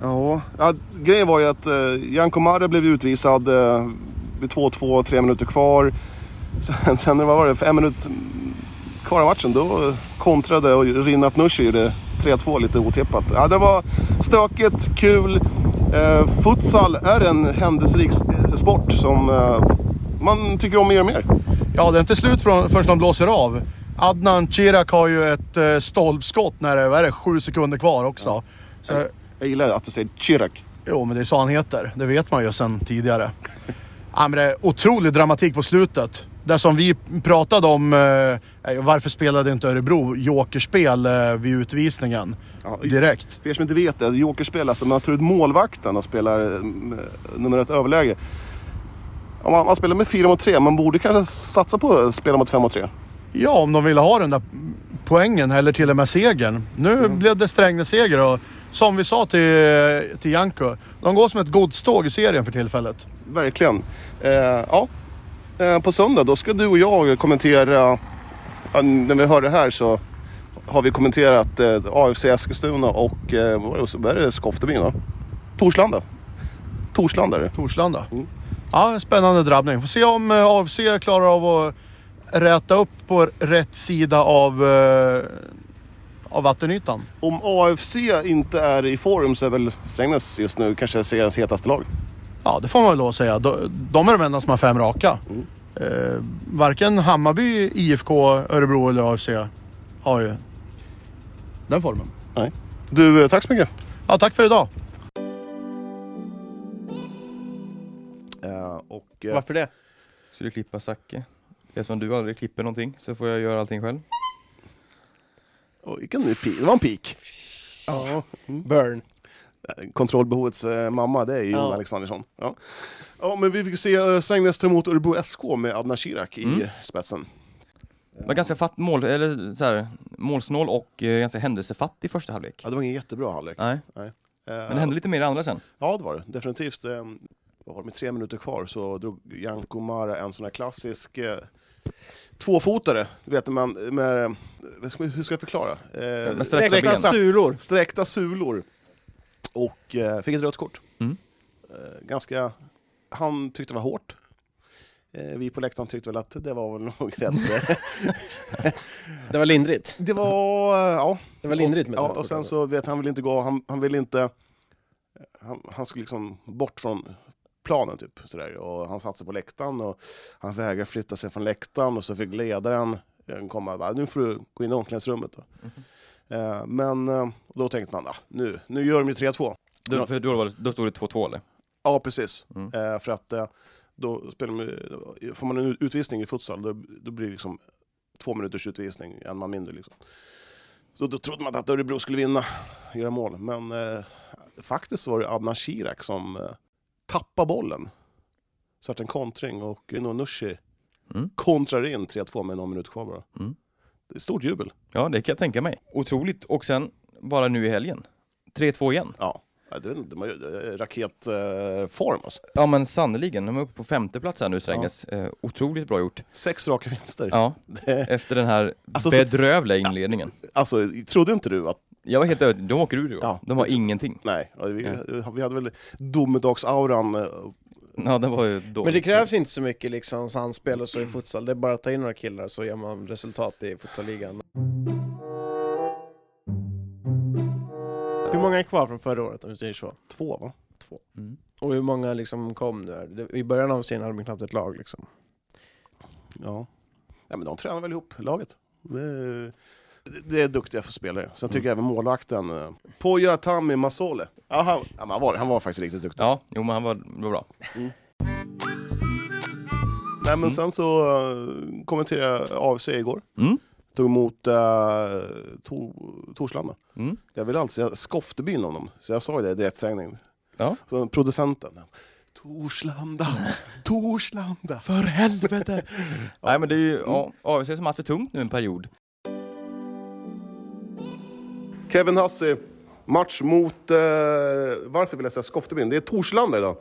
Ja, ja grejen var ju att eh, Janko Mare blev utvisad eh, vid 2-2, tre minuter kvar. Sen, sen vad var det, fem minuter kvar av matchen, då eh, kontrade och Rinat Nushi gjorde 3-2 lite otippat. Ja, det var stökigt, kul. Eh, futsal är en händelserik eh, sport som eh, man tycker om mer och mer. Ja, det är inte slut från, förrän de blåser av. Adnan Chirak har ju ett eh, stolpskott när det vad är det, sju sekunder kvar också. Så, Jag gillar att du säger Chirak. Jo, men det är så han heter. Det vet man ju sedan tidigare. ja, men det är otrolig dramatik på slutet. Det som vi pratade om, eh, är ju varför spelade inte Örebro jokerspel eh, vid utvisningen Ja, direkt? För er som inte vet det, jokerspel är att man tar ut målvakten och spelar mm, nummer ett överläge. Ja, man, man spelar med fyra mot tre, man borde kanske satsa på att spela mot fem mot tre. Ja, om de ville ha den där poängen eller till och med segern. Nu Mm. blev det Strängnäs seger och som vi sa till, till Janko, de går som ett godståg i serien för tillfället. Verkligen. Eh, ja. eh, på söndag då ska du och jag kommentera, ja, när vi hör det här så har vi kommenterat eh, AFC Eskilstuna och eh, vad är det, så- vad är det Skoftebyn va? Torslanda. Torslanda är det. Torslanda. Mm. Ja, spännande drabbning. Får se om eh, AFC klarar av att räta upp på rätt sida av, eh, av vattenytan. Om AFC inte är i form så är väl Strängnäs just nu kanske seriens hetaste lag. Ja, det får man väl då säga. De, de är de enda som har fem raka. Mm. Eh, varken Hammarby, IFK, Örebro eller AFC har ju den formen. Du, eh, tack så mycket. Ja, tack för idag. Eh, och, eh, Varför det? Skulle klippa Zacke. Eftersom du aldrig klipper någonting så får jag göra allting själv. oj, vilken ny pi- det var en pik. Ja. Burn. Kontrollbehovets eh, mamma, det är ju Jon Ja. Alexandersson. Ja. ja, men vi fick se eh, Strängnäs ta emot Örebro SK med Adnan Shirak i Mm. spetsen. Var ganska fatt mål, eller så här, målsnål och eh, ganska händelsefattig första halvlek. Ja, det var ingen jättebra halvlek. Nej, Eh, men det hände lite mer i andra sen. Ja, det var det. Definitivt. Eh, vad var det med tre minuter kvar så drog Janko Mara en sån här klassisk eh, tvåfotare. Du vet, när man, med, eh, vad ska- hur ska jag förklara? Eh, Med sträckta ben. Sulor. sträckta sulor. Och eh, fick ett rött kort. Mm. Eh, ganska... Han tyckte det var hårt. Eh, vi på läktaren tyckte väl att det var väl nog rätt. Det var lindrigt. det var... eh, Ja, Det var lindrigt med och, ja, den och sen så vet han vill inte gå, han, han vill inte... Han, han skulle liksom bort från planen typ. Sådär. Och han satte sig på läktaren och han vägrar flytta sig från läktaren och så fick ledaren eh, komma och bara, nu får du gå in i omklädningsrummet. Då. Mhm. Eh, men eh, då tänkte man, ah, nu, nu gör de ju 3-2. Ja. Då, för då, var det, då stod det 2-2 eller? Ja, precis. Mm. Eh, för att eh, då spelar man, ju- får man en utvisning i futsal, då, då blir det liksom två minuters utvisning, en man mindre. Liksom. Så då trodde man att Örebro skulle vinna, göra mål. Men eh, faktiskt var det Adnan Shirak som eh, tappade bollen. Så att en kontring och Uno Nushi Mm. kontrar in 3-2 med någon minut kvar bara. Mm. Det är stort jubel. Ja, det kan jag tänka mig. Otroligt. Och sen, bara nu i helgen, 3-2 igen. Ja. Ja, Det, det var ju eh, raketform alltså. Ja men sannerligen, de är uppe på femte plats här nu Strängnäs. Eh, otroligt bra gjort. Sex raka vinster. Ja, Det, efter den här Alltså, så- bedrövliga inledningen. alltså, trodde inte du att Jag var helt övertygad, de åker ur i år. Ja. De har ingenting. Nej, ja, vi, eh, Nej. vi hade väl domedagsauran. eh, Ja, det var ju dåligt. Men det krävs inte så mycket liksom samspel och så i futsal. Det är bara att ta in några killar så gör man resultat i futsalligan. Hur många är kvar från förra året om vi säger så? Två va? Mm. Och hur många liksom kom nu? här? Det- I början av serien hade de knappt ett lag liksom. Ja. Nej, men de tränar väl ihop, laget. Det, det är duktiga för spelare. Sen tycker jag Mm. även målvakten, eh, Poya Tami Masole. Ja, han, ja, men han, var, han var faktiskt riktigt duktig. Ja, jo men han var, var bra. Nej, men Mm. sen så eh, kommenterade jag AFC igår. Mm. Tog emot eh, to, Torslanda. Mm. Jag ville alltid säga Skoftebyn om dem, så jag sa ju det i direktsändning. Ja. Så producenten. Torslanda, Torslanda. För helvete! Nej men det är ju ja, AFC som har haft det tungt nu en period. Kevin Hussey, match mot, eh, varför vill jag säga Skoftebyn? Det är Torslanda idag.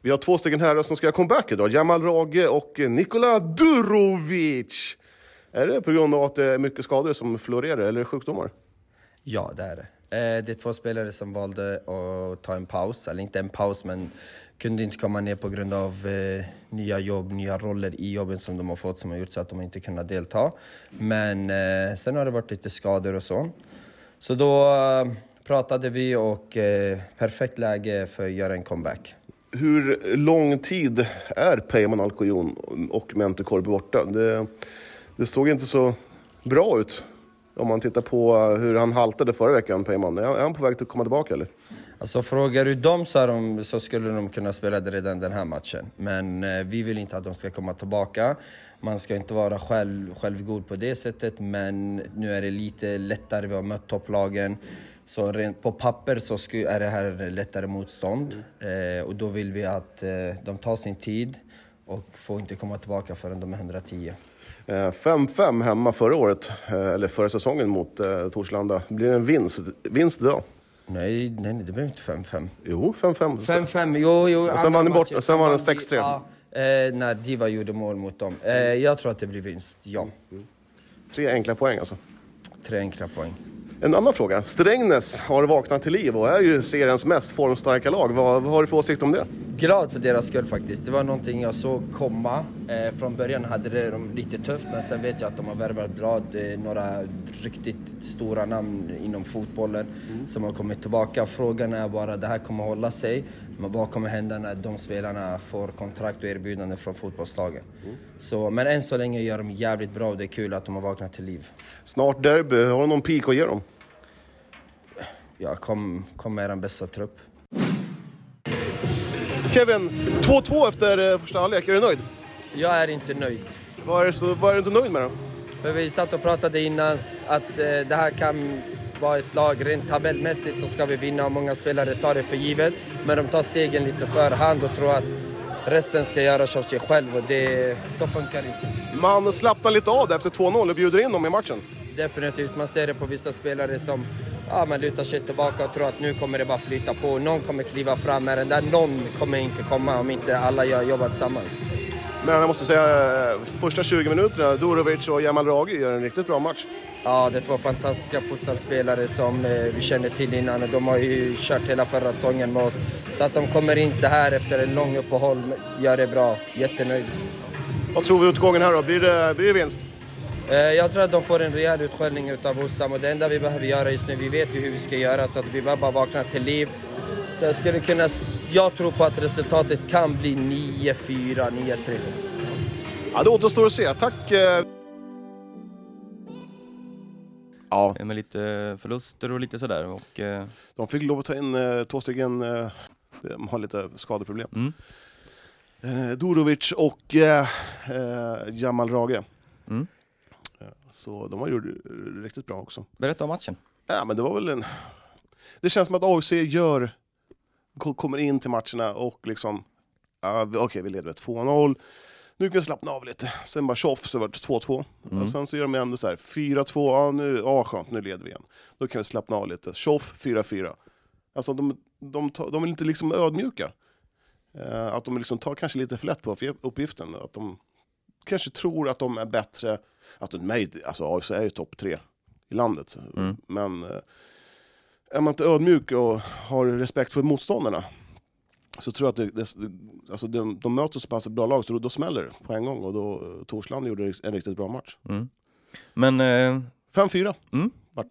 Vi har två stycken herrar som ska göra comeback idag. Jamal Rage och eh, Nikola Durovic. Är det på grund av att det är mycket skador som florerar, eller sjukdomar? Ja, det är det. Eh, Det är två spelare som valde att ta en paus, eller inte en paus men kunde inte komma ner på grund av eh, nya jobb, nya roller i jobben som de har fått som har gjort så att de inte kunnat delta. Men eh, sen har det varit lite skador och så. Så då eh, pratade vi och eh, perfekt läge för att göra en comeback. Hur lång tid är Peyman Alcoyon och Mente Korpi borta? Det, det såg inte så bra eh, ut om man tittar på hur han haltade förra veckan, Peyman. Är han- är han på väg att komma tillbaka eller? Alltså frågar du dem så, är de, så skulle de kunna spela det redan den här matchen. Men eh, vi vill inte att de ska komma tillbaka. Man ska inte vara själv, självgod på det sättet, men nu är det lite lättare. Vi har mött topplagen. Så rent på papper så sku, är det här lättare motstånd. Eh, och då vill vi att eh, de tar sin tid och får inte komma tillbaka förrän de är 110. Eh, 5-5 hemma förra året, eh, eller förra säsongen mot eh, Torslanda. Blir det en vinst, vinst idag? Nej, nej, nej det blev inte 5-5. Jo, 5-5. 5-5, jo, jo. sen vann ni andra bort- matchen, sen vann ni vi- 6-3. Ja, eh, när Diva gjorde mål mot dem. Eh, jag tror att det blir vinst, ja. Tre enkla poäng alltså. Tre enkla poäng. En annan fråga. Strängnäs har vaknat till liv och är ju seriens mest formstarka lag. Vad, vad har du för åsikt om det? Glad för deras skull faktiskt. Det var någonting jag såg komma. Eh, från början hade det de lite tufft, men sen vet jag att de har värvat bra. Det är några riktigt stora namn inom fotbollen som har kommit tillbaka. Frågan är bara, det här kommer hålla sig. Men vad kommer hända när de spelarna får kontrakt och erbjudanden från fotbollslagen? Så, men än så länge gör de jävligt bra och det är kul att de har vaknat till liv. Snart derby. Har du någon pik att ge dem? Ja, kom, kom med er bästa trupp. Kevin, 2-2 efter eh, första halvlek. Är du nöjd? Jag är inte nöjd. Vad är, det så, vad är du inte nöjd med då? För vi satt och pratade innan att eh, det här kan vara ett lag, rent tabellmässigt så ska vi vinna och många spelare tar det för givet. Men de tar segern lite förhand och tror att resten ska göras av sig själv och det, så funkar det inte. Man slappnar lite av där efter 2-0 och bjuder in dem i matchen. Definitivt, man ser det på vissa spelare som ja, man lutar sig tillbaka och tror att nu kommer det bara flyta på. Någon kommer kliva fram, men den där någon kommer inte komma om inte alla gör jobbat tillsammans. Men jag måste säga, eh, första 20 minuterna, Dorovic och Jamal Ragi gör en riktigt bra match. Ja, det var fantastiska fotbollsspelare som eh, vi kände till innan och de har ju kört hela förra säsongen med oss. Så att de kommer in så här efter en lång uppehåll, gör det bra. Jättenöjd. Vad tror vi utgången här då? Blir det, blir det vinst? Eh, jag tror att de får en rejäl utskällning utav Hossam och det enda vi behöver göra just nu, vi vet ju hur vi ska göra så att vi behöver bara vakna till liv. Så jag skulle kunna, jag tror på att resultatet kan bli 9-4, 9-3. Ja, det återstår att se. Tack! eh. Ja, Med lite förluster och lite sådär. Och, eh, de fick lov att ta in eh, två stycken, eh, de har lite skadeproblem. mm. Eh, Dorovic och eh, eh, Jamal Rage. Mm. Eh, Så de har gjort eh, riktigt bra också. Berätta om matchen. Ja, men det var väl en... Det känns som att AFC gör... ko- Kommer in till matcherna och liksom... ja, vi- Okej, vi leder med 2-0. Nu kan vi slappna av lite. Sen bara tjoff så vart det 2-2. Och sen så gör de ändå så här 4-2. Ja, nu, ja, skönt, nu leder vi igen. Då kan vi slappna av lite. Tjoff, 4-4. Alltså de, de, tar- de är inte liksom ödmjuka. Eh, att de liksom tar kanske lite för lätt på uppge- uppgiften. Att de kanske tror att de är bättre. Att de, nej, alltså AFC är ju topp tre i landet. Mm. Men eh, är man inte ödmjuk och har respekt för motståndarna så tror jag att det, det, alltså de, de möter så pass bra lag så då, då smäller det på en gång. Och då eh, Torslanda gjorde en riktigt bra match. Men eh, 5-4.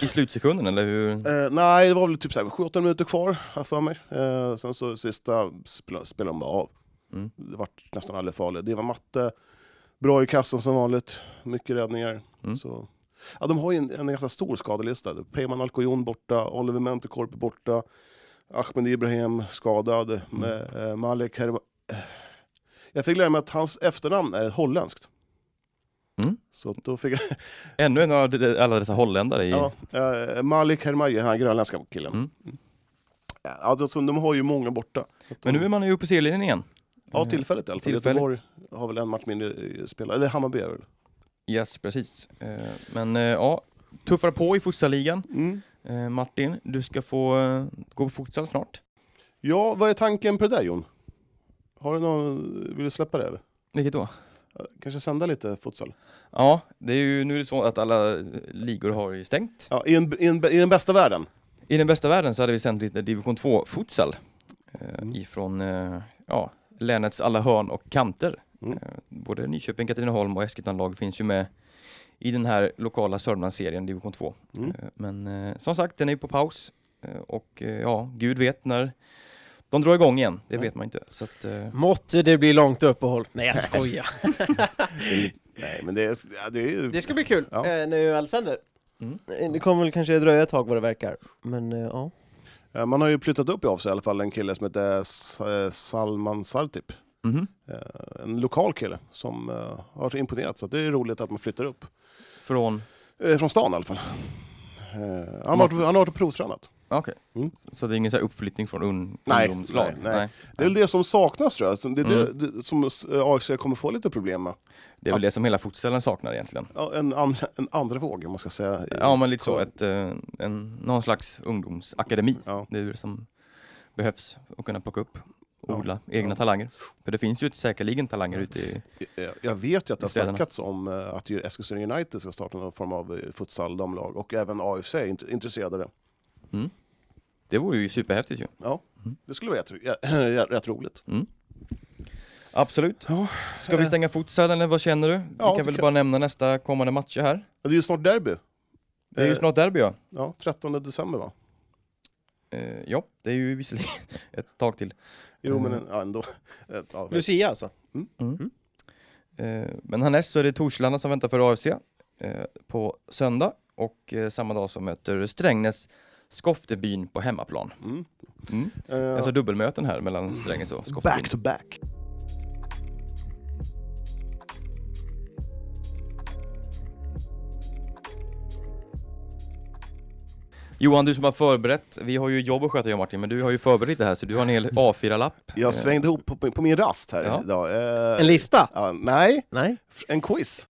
i slutsekunden, eller hur? Eh, nej, det var väl typ 7-8 minuter kvar, har jag för mig. Eh, sen så sista spela- spelade de bara av. Mm. Det var nästan aldrig farligt. Det var matte, bra i kassan som vanligt, mycket räddningar. Mm. Så. Ja, de har ju en, en ganska stor skadelista. Peyman Alcoyon borta, Oliver Mentekorp borta, Ahmed Ibrahim skadad, Mm. med, eh, Malik Herma... eh. Jag fick lära mig att hans efternamn är holländskt. Mm. Så att då fick jag Ännu en av de- alla dessa holländare i... Ja, eh, Malik Hermaji, den här grönländska killen. Mm. Ja, alltså, de har ju många borta. Men nu är man ju uppe på serien igen. Ja, tillfället i alla fall. Tillfälligt. Göteborg har väl en match mindre eh, spelare. Eller Hammarby är det väl? Yes, precis. Eh, Men eh, ja, tuffar på i futsalligan. Mm. Eh, Martin, du ska få eh, gå på futsal snart. Ja, vad är tanken på det där Jon? Har du någon, vill du släppa det eller? Vilket då? Eh, Kanske sända lite futsal? Ja, det är ju, nu är det så att alla eh, ligor har ju stängt. Ja, i, en, i, en, I den bästa världen? I den bästa världen så hade vi sänt lite division 2-futsal eh, Mm. ifrån eh, ja, länets alla hörn och kanter. Mm. Eh, både Nyköping, Katrineholm och Eskilstuna-lag finns ju med i den här lokala Sörmlandsserien, division 2. Mm. Eh, men eh, som sagt, den är ju på paus eh, och eh, ja, gud vet när de drar igång igen, det Ja. vet man inte. Så att, eh, Måtte det bli långt uppehåll. Nej, jag skojar. Nej, men det är... Ja, det är ju... det ska bli kul Ja. eh, nu Alexander. Mm. Eh, Det kommer väl kanske dröja ett tag vad det verkar. Men eh, ja. Eh, Man har ju flyttat upp i AFC i alla fall en kille som heter S- eh, Salman Sartip. Mhm. Eh, En lokal kille som eh, har imponerat, så det är roligt att man flyttar upp. Från... Eh, Från stan i alla fall. Eh, Han har, varit- han har varit och provtränat. Ah, Okej. Mm. Så det är ingen så här uppflyttning från un... Nej, ungdomslag? nej, nej. Det är väl det som saknas tror jag, det är Mm. det, det som eh, AFC kommer få lite problem med. Det är väl det som hela fotbollen saknar egentligen. Ja, En, an, en andra våg om man ska säga. Ja, men lite så. Ett, eh, en, någon slags ungdomsakademi. Ja. Det är det som behövs att kunna plocka upp och odla egna talanger. För det finns ju säkerligen talanger ute i... Eh, Jag vet ju att det har I städerna. snackats om eh, att ju Eskilstuna United ska starta någon form av eh, futsal-damlag och även AFC är int- intresserade av det. Det vore ju superhäftigt ju. Ja, Mm. det skulle vara rätt, rätt, rätt roligt. Absolut. Ja, Ska vi stänga futsal eller vad känner du? vi kan Eh. tycker väl jag. bara nämna nästa kommande matcher här. Det är ju snart derby. Det är ju Eh, snart derby ja. Ja, 13 december va? Eh, ja, det är ju visserligen ett tag till. Jo, Mm. men ja, ändå. Eh, Ja, Lucia alltså? Eh, men härnäst så är det Torslanda som väntar för AFC eh, på söndag och eh, samma dag så möter Strängnäs Skoftebyn på hemmaplan. mm. Mm. Eh, Alltså dubbelmöten här mellan Strängnäs och Skoftebyn. back to back. Johan, du som har förberett. Vi har ju jobb att sköta jag och Martin, men du har ju förberett det här så du har en hel A4-lapp. Eh, Jag svängde ihop på, på min rast här Ja. idag. Eh, En lista? ja, nej, Nej. f- en quiz.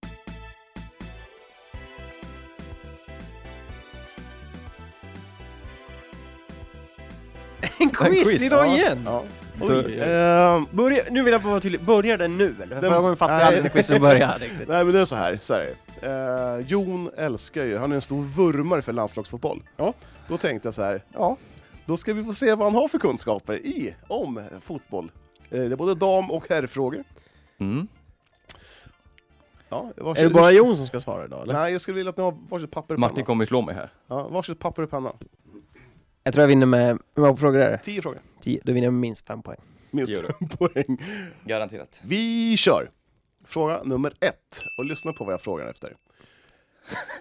En quiz, quiz, idag ja. igen! Ja. Ehm, börja, nu vill jag bara vara tydlig, börjar den nu eller? Förra gången fattade jag nej. aldrig när quizen började. riktigt. Nej, men det är så här. Så här. är det. Eh, Jon älskar ju, han är en stor vurmare för landslagsfotboll. Ja. Då tänkte jag så här, ja, då ska vi få se vad han har för kunskaper i, om fotboll. Eh, det är både dam och herrfrågor. Mm. Ja, varsitt- Är det bara Jon som ska svara idag eller? Nej, jag skulle vilja att ni har varsitt papper och Martin penna. kommer ju slå mig här. Ja, varsitt papper och penna. Jag tror jag vinner med, hur många frågor är det? Tio frågor. Tio, då vinner jag med minst fem poäng. Minst Gör det. fem poäng. Garanterat. Vi kör! Fråga nummer ett, och lyssna på vad jag frågar efter.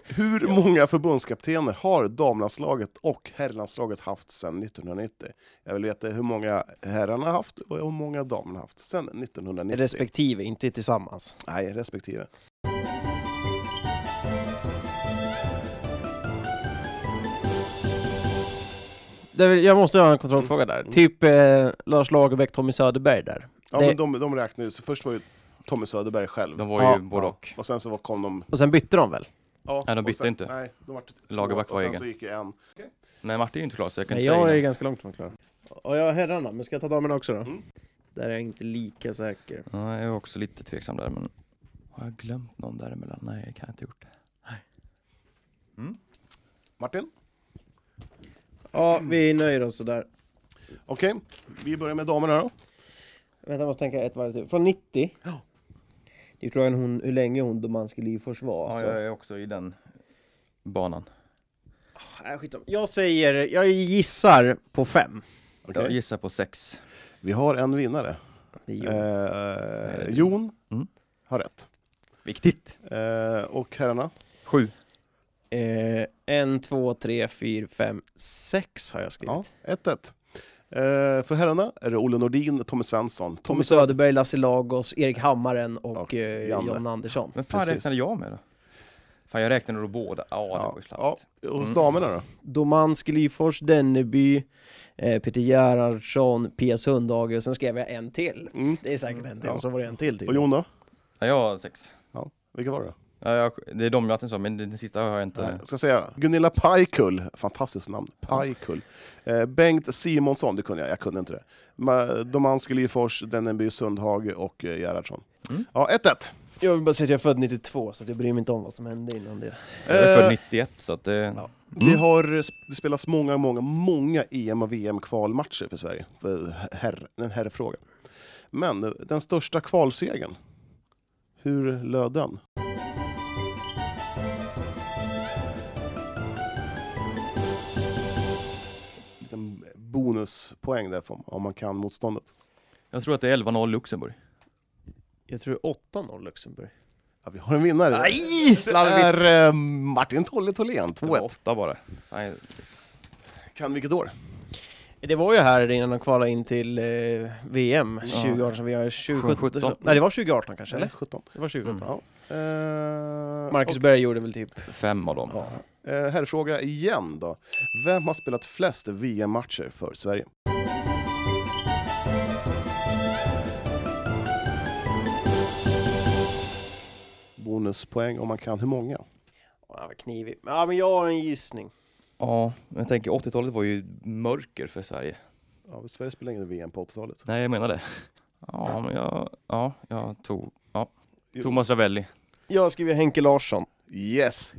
Hur många förbundskaptener har damlandslaget och herrlandslaget haft sedan 1990? Jag vill veta hur många herrarna har haft och hur många damerna har haft sedan 1990. Respektive, inte tillsammans. Nej, respektive. Det är väl- Jag måste ha en kontrollfråga där. Typ eh, Lars Lagerbäck, Tommy Söderberg där. Ja, Det- men de, de räknar ju, så först var ju Tommy Söderberg själv. De var ju Ja. både och. Och sen så var- kom de... Och sen bytte de väl? Ja, Nej, de och bytte sen, inte. Nej, de var Lagerbäck var Och sen egen. så gick ju en. Men Martin är ju inte klar så jag kan Nej, inte säga jag är innan. ganska långt från klar. Mm. Och jag har herrarna, men ska jag ta damerna också då? Där är jag inte lika säker. Ja, jag är också lite tveksam där men har jag glömt någon däremellan? Nej, jag kan inte ha gjort det. Martin? Ja, vi nöjer oss sådär. Okej, vi börjar med damerna då. Vänta, jag måste tänka ett varv till. Från 90? Ja. Det är frågan hon, hur länge hon Domanski Lyfors var. Ja, alltså. jag är också i den banan. Nej, skitsamma. Jag säger, jag gissar på fem. Okej. Jag gissar på sex. Vi har en vinnare. Det är ju- Eh, Jon Mm. har rätt. Viktigt! Eh, och herrarna? Sju. Eh, en, två, tre, fyra, fem, sex har jag skrivit. Ja, 1-1. Eh, för herrarna är det Olle Nordin, Tommy Svensson, Tommy Tommy Söder. Söderberg, Lasse Lagos, Erik Hammaren och, Och eh, Janne. John Andersson. Men fan Precis. räknade jag med då? Fan jag räknade då båda. Ja, det var ju Ja, slappt. ja, hos Mm. damerna då? Domanski, Lyfors, Denneby, eh, Peter Gerhardsson, Pia Sundhage och sen skrev jag en till. Mm. Det är säkert en till, Ja. och så var det en till till. Och Jon då? Ja, jag har sex. Vilka var det då? Ja, jag, det är de jag inte sa, men den sista har jag inte. Jag ska säga Gunilla Pajkull, fantastiskt namn. Pajkull. Eh, Bengt Simonsson, det kunde jag, jag kunde inte det. Ma- Domanski, Lyfors, Denneby, Sundhage och eh, Gerhardsson. Mm. Ja, 1-1. Jag vill bara säga att jag är född 92, så att jag bryr mig inte om vad som hände innan det. Jag är Eh, född 91 så att det... Ja. Det har sp- det spelats många, många, många EM och VM-kvalmatcher för Sverige. För Herr, en herrfråga. Men eh, den största kvalsegen, hur löd den? Liten bonuspoäng där för- om man kan motståndet. Jag tror att det är 11-0 Luxemburg. Jag tror 8-0 Luxemburg. Ja, vi har en vinnare. Nej! det är eh, Martin Tolle Tholén, Det var 2-1. åtta bara. Nej, Kan vilket år? Det var ju här innan de kvalade in till eh, VM 2018 som vi har 2017. 17. Nej det var 2018 kanske eller? 17. Det var Mm. 2018. Ja. Eh, Marcus Berg gjorde väl typ... Fem av dem. Ja. Eh, Herrfråga igen då. Vem har spelat flest VM-matcher för Sverige? Bonuspoäng om man kan hur många? Ja, vad knivig. Ja men jag har en gissning. Ja, men jag tänker 80-talet var ju mörker för Sverige. Ja, Sverige spelade ingen VM på 80-talet. Nej, jag menar det. Ja, men jag, ja, jag tog ja. Thomas Ravelli. Jag skriver Henke Larsson. Yes!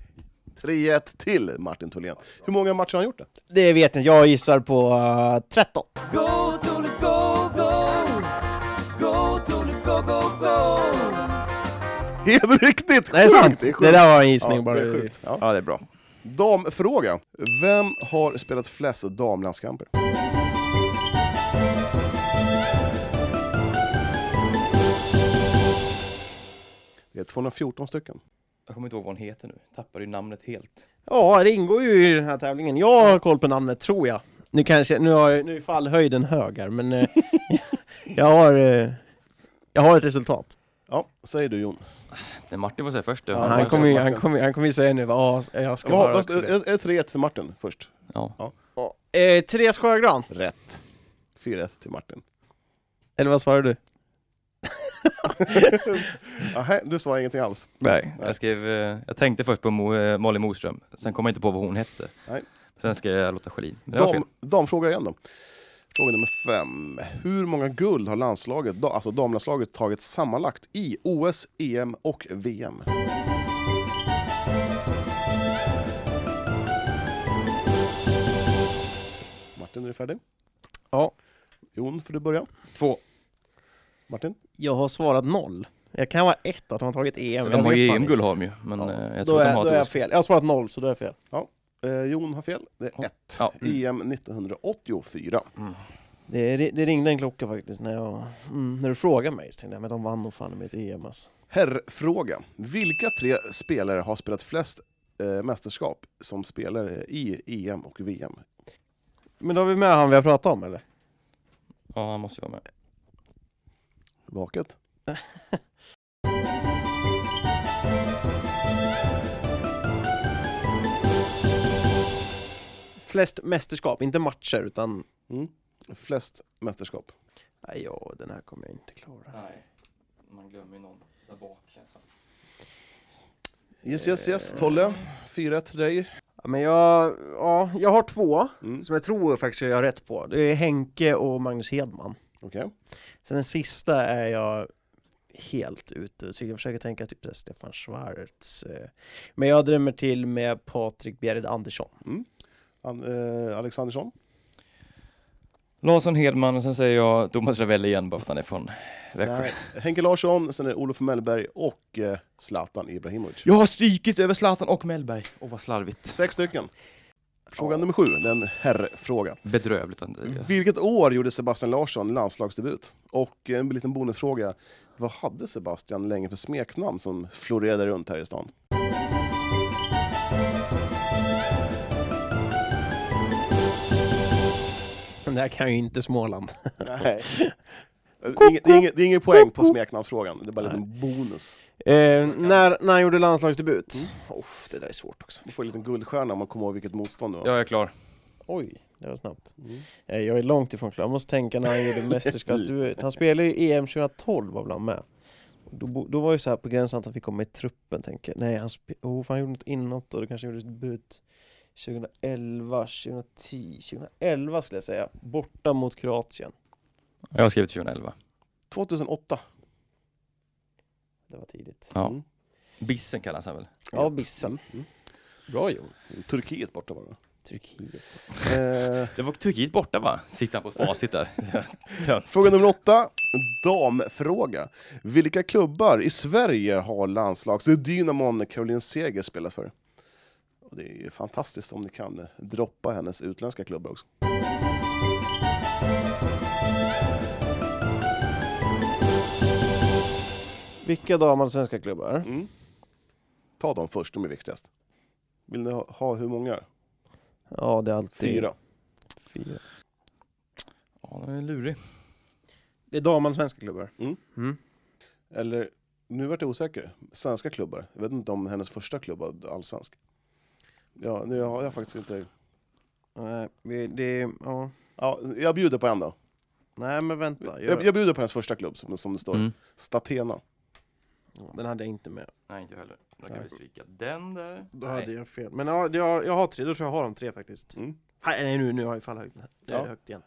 3-1 till Martin Tholén. Hur många matcher har han gjort det? Det vet jag inte. jag gissar på eh, 13. Helt riktigt! Det är sjukt! sant! sjukt. Det där var en gissning Ja, bara. det är sjukt. Ja. Ja, det är bra. Damfråga. Vem har spelat flest damlandskamper? Det är 214 stycken. Jag kommer inte ihåg vad hon heter nu. Tappade ju namnet helt. Ja, det ingår ju i den här tävlingen. Jag har koll på namnet, tror jag. Nu kanske, nu, har jag, nu är fallhöjden hög här, men eh, jag, har, eh, jag har ett resultat. Ja, säger du Jon. Nej, Martin får säga först. Ja, han, kommer, ju- han, kommer, han kommer ju säga nu, ja, jag ska Vad- vara vad- också det. är är det 3-1 till Martin först? Eh, Therese Sjögran, Rätt. 4-1 till Martin. eller vad svarar du? Aha, du svarar ingenting alls. Nej. Jag, skrev, eh, jag tänkte först på Mo, eh, Malin Moström. Sen kom jag inte på vad hon hette. Nej. Sen skrev jag Lotta Schelin. Men det var fel. Dam, damfråga igen då. Fråga nummer fem. Hur många guld har landslaget, da- alltså damlandslaget tagit sammanlagt i OS, EM och VM? Martin, är du färdig? Ja. Jon, får du börja. Två. Martin? Jag har svarat noll. Jag kan vara ett att de har tagit E EM. De jag har vet ju fan EM-guld inte. har de ju. Men Ja. eh, jag Då tror att är, de har då är jag ett fel. Jag har svarat noll, så då är jag fel. Eh, Jon har fel. Det är ett. E Ja. Mm. EM 1984. Det, det, det ringde en klocka faktiskt när, jag, mm, när du frågade mig, så tänkte jag men de vann nog fan med ett EM alltså. Herrfråga. Vilka tre spelare har spelat flest eh, mästerskap som spelare i EM och VM? Men då har vi med han vi har pratat om eller? Ja, han måste ju vara med. Vaket. Flest mästerskap, inte matcher utan Mm. Flest mästerskap. Nej, ja, den här kommer jag inte klara. Nej. Man glömmer ju någon där bak känns det Yes, yes, yes. Tolle, 4-1 till dig. Ja, men jag, ja, jag har två Mm. som jag tror faktiskt jag har rätt på. Det är Henke och Magnus Hedman. Okej. Sen den sista är jag helt ute, så jag försöker tänka typ så här Stefan Schwarz. eh. Men jag drömmer till med Patrik Bjerred Andersson. An- eh, Alexandersson. Larsson Hedman och sen säger jag Thomas Ravelli igen bara för att han är från Växjö. Nej. Henke Larsson, sen är det Olof Mellberg och eh, Zlatan Ibrahimovic. Jag har strykit över Zlatan och Mellberg. Åh vad slarvigt. Sex stycken. Fråga nummer sju, det är en herrfråga. Bedrövligt. att det- Vilket år gjorde Sebastian Larsson landslagsdebut? Och eh, en liten bonusfråga, vad hade Sebastian länge för smeknamn som florerade runt här i stan? Den här kan ju inte Småland. Nej. Det är inget- det är inget- det är ingen poäng på smeknamnsfrågan, det är bara en liten bonus. Eh, när, när han gjorde landslagsdebut? Uff, Mm, det där är svårt också. Du får en liten guldstjärna om man kommer ihåg vilket motstånd det var. Jag är klar. Oj, det var snabbt. Mm. Eh, Jag är långt ifrån klar, jag måste tänka när han gjorde mästerskapsdebut. Han spelade ju EM 2012 var väl han med? Då, bo- då var det så här på gränsen att han fick komma med i truppen, tänker jag. Nej, han, spe- oh, för han gjorde något inåt och då kanske han gjorde debut 2011, 2010, 2011 skulle jag säga. Borta mot Kroatien. Jag har skrivit 2011. 2008. Det var tidigt. Ja. Mm. Bissen kallas han väl? Ja, Bissen. Mm. Bra Jon. Turkiet borta var det. Turkiet. Eh, Det var Turkiet borta va? Sitter han på facit där? Tönt. fråga nummer åtta, damfråga. Vilka klubbar i Sverige har landslagsdynamon Caroline Seger spelat för? Och det är ju fantastiskt om ni kan eh, droppa hennes utländska klubbar också. Vilka damer svenska klubbar? Mm. Ta dem först, de är viktigast. Vill ni ha, ha hur många? Ja, det är alltid... Fyra. Fyra. han är lurig. Det är damallsvenska klubbar. Eller, nu vart jag osäker. Svenska klubbar. Jag vet inte om hennes första klubb var allsvensk. Ja, nu har jag faktiskt inte... Nej, vi- det är... Ja. Ja, jag bjuder på en då. Nej, men vänta. Jag, Jag, jag bjuder på hennes första klubb, som, som det står. Mm. Statena. Den hade jag inte med. Nej, inte jag heller. Då kan Nej. vi stryka den där. Då Nej. hade jag fel. Men ja, jag, jag har tre. Då tror jag jag har de tre faktiskt. Mm. Nej, nej, nu, nu har jag fan högt. Det är Ja. högt igen.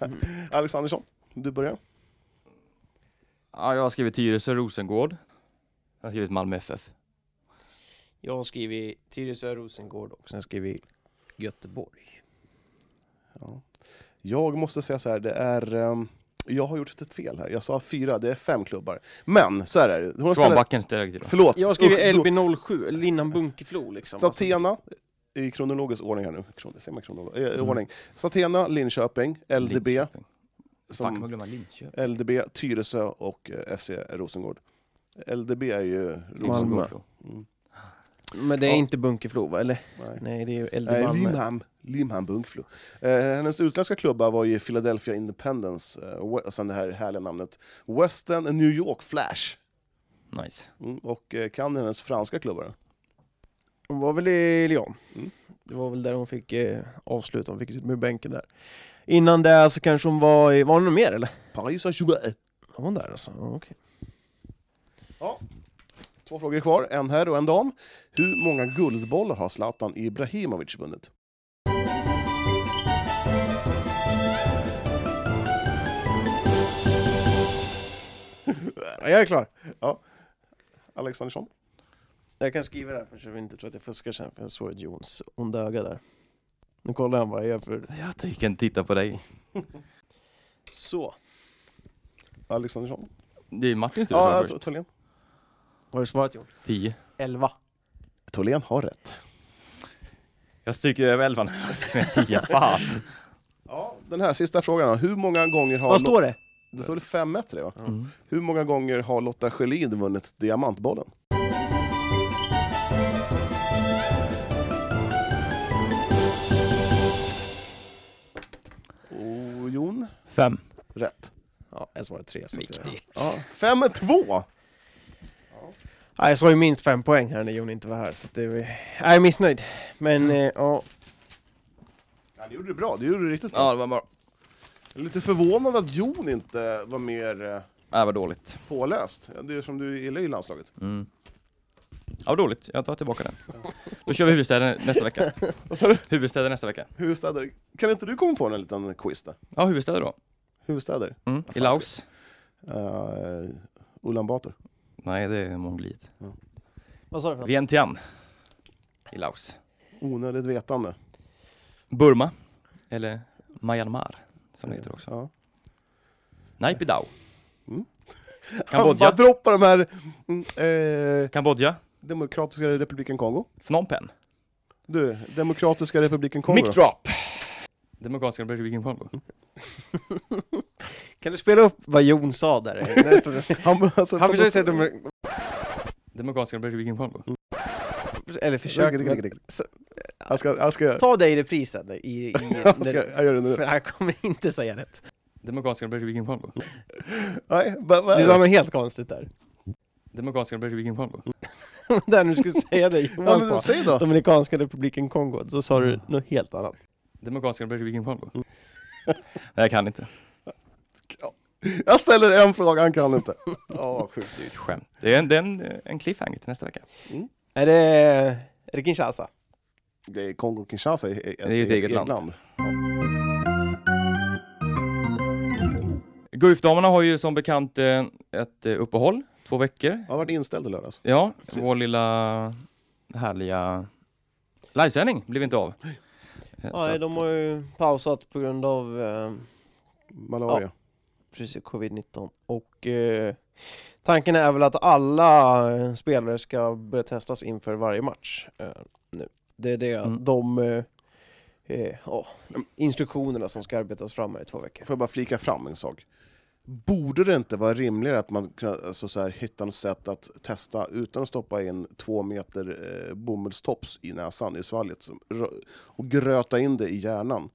Mm. Alexandersson, du börjar. Ja, jag har skrivit Tyresö Rosengård. Jag har skrivit Malmö FF. Jag har skrivit Tyresö, Rosengård och sen skriver vi Göteborg. Ja. Jag måste säga så här, det är... ehm, jag har gjort ett fel här. Jag sa fyra, det är fem klubbar. Men så här är det. Hon har spelat... Kvarnbacken ställer jag till. då. Förlåt. Jag har skrivit Usch, då- LB07, eller Linnan Bunkeflo liksom. Statena, i kronologisk ordning här nu. Kron- Ser man kronolo- eh, ordning. Statena, Linköping, LDB, Linköping. Fan, kan man som glömma Linköping? LDB Tyresö och eh, SC Rosengård. LDB är ju Rosengård. Rosengård. Malmö. Mm. Men det är Ja. inte Bunkeflo va? Eller? Nej. Nej, det är ju LB Nej, Malmö. Limham, Limham Bunkflo. Eh, hennes utländska klubba var ju Philadelphia Independence, eh, We- och sen det här härliga namnet Western New York Flash. Nice. Mm, och eh, kan hennes franska klubbar. Hon var väl i Lyon. Mm. Det var väl där hon fick eh, avsluta, hon fick sitta med bänken där. Innan det så kanske hon var i, var hon någon mer eller? Paris Saint-Germain. Var hon där alltså? Ja, okej. Två frågor kvar, en herr och en dam. Hur många guldbollar har Zlatan Ibrahimovic vunnit? Ja, jag är klar. Alexandersson? Jag kan skriva det här först så vi inte tror att jag fuskar sen för jag såg ett Jons onda öga där. Nu kollar han vad jag gör för... Jag tänker inte titta på dig. Så. Alexandersson? Det är Martins tur Ja, ja, T- först. Tholén. Har du svarat Jon? Tio. Elva. Tholén har rätt. Jag stryker över elvan. Tio, fan. Ja, den här sista frågan då. Hur många gånger har... Vad står det? Lo- det står väl 5-1 till det va? Mm. Hur många gånger har Lotta Schelin vunnit Diamantbollen? Och Oh, Jon? Fem. Rätt. Ja, jag svarade tre. Så att jag... Ja, 5-2! Ja, jag sa ju minst fem poäng här när Jon inte var här, så att det... var- Jag är missnöjd. Men eh, ja, Ja, det gjorde du bra. Det gjorde du riktigt bra. Ja, det var bra. Jag är lite förvånad att Jon inte var mer eh, Ja, Det var Äh, dåligt. påläst. Det är som du gillar i landslaget. Mm. Ja, vad dåligt. Jag tar tillbaka den. Då kör vi huvudstäder nästa vecka. Vad sa du? Huvudstäder nästa vecka. Huvudstäder. Kan inte du komma på en liten quiz där? Ja, huvudstäder då. Huvudstäder? Mm. I fan Laos. Uh, Ulan Bator. Nej, det är Mongoliet. vad sa du? för Vientiane. I Laos. Onödigt vetande. Burma. Eller Myanmar, som det heter också. Ja. Nej, Pidao. Mm. Han bara Kambodja. droppar de här... Mm, eh, Kambodja. Demokratiska republiken Kongo. Phnom Penh. Du, Demokratiska republiken Kongo. Mic drop. Demokratiska republiken Kongo. Kan du spela upp vad Jon sa där? Han, alltså, Han försökte säga att de... Demokratiska republiken Kongo. Eller försökte... men- Jag ska... Jag ska, jag ska, Ta dig i reprisen. I, i, jag ska jag gör det nu. för han kommer inte säga rätt. Demokratiska republiken Kongo. Nej, vad- vad Du är sa det? något helt konstigt där. Demokratiska republiken Kongo. där du skulle säga det Mm. Ja, Johan men, sa. säg då! Dominikanska republiken Kongo, så sa du något helt annat. Demokratiska republiken Kongo. Mm. Nej, jag kan inte. Jag ställer en fråga, han kan inte. Ja, sjukt. Ett skämt. Det är en, det är en, en cliffhanger till nästa vecka. Är det... Är det Kinshasa? Det är Kongo-Kinshasa är ett, är ju ett eget land. Guifdamerna har ju som bekant eh, ett eh, uppehåll, två veckor. Jag har varit inställd i lördags. Ja, Trist. vår lilla härliga livesändning blev inte av. Eh, så Ja, att- de har ju pausat på grund av... eh, Malaria. precis, covid-19. Och eh, tanken är väl att alla eh, spelare ska börja testas inför varje match eh, nu. Det är det, Mm. de eh, eh, ja, instruktionerna som ska arbetas fram här i två veckor. Får jag bara flika fram en sak? Borde det inte vara rimligare att man kunna, alltså så här, hitta något sätt att testa utan att stoppa in två meter eh, bomullstops i näsan, i svalget, som, rö- och gröta in det i hjärnan?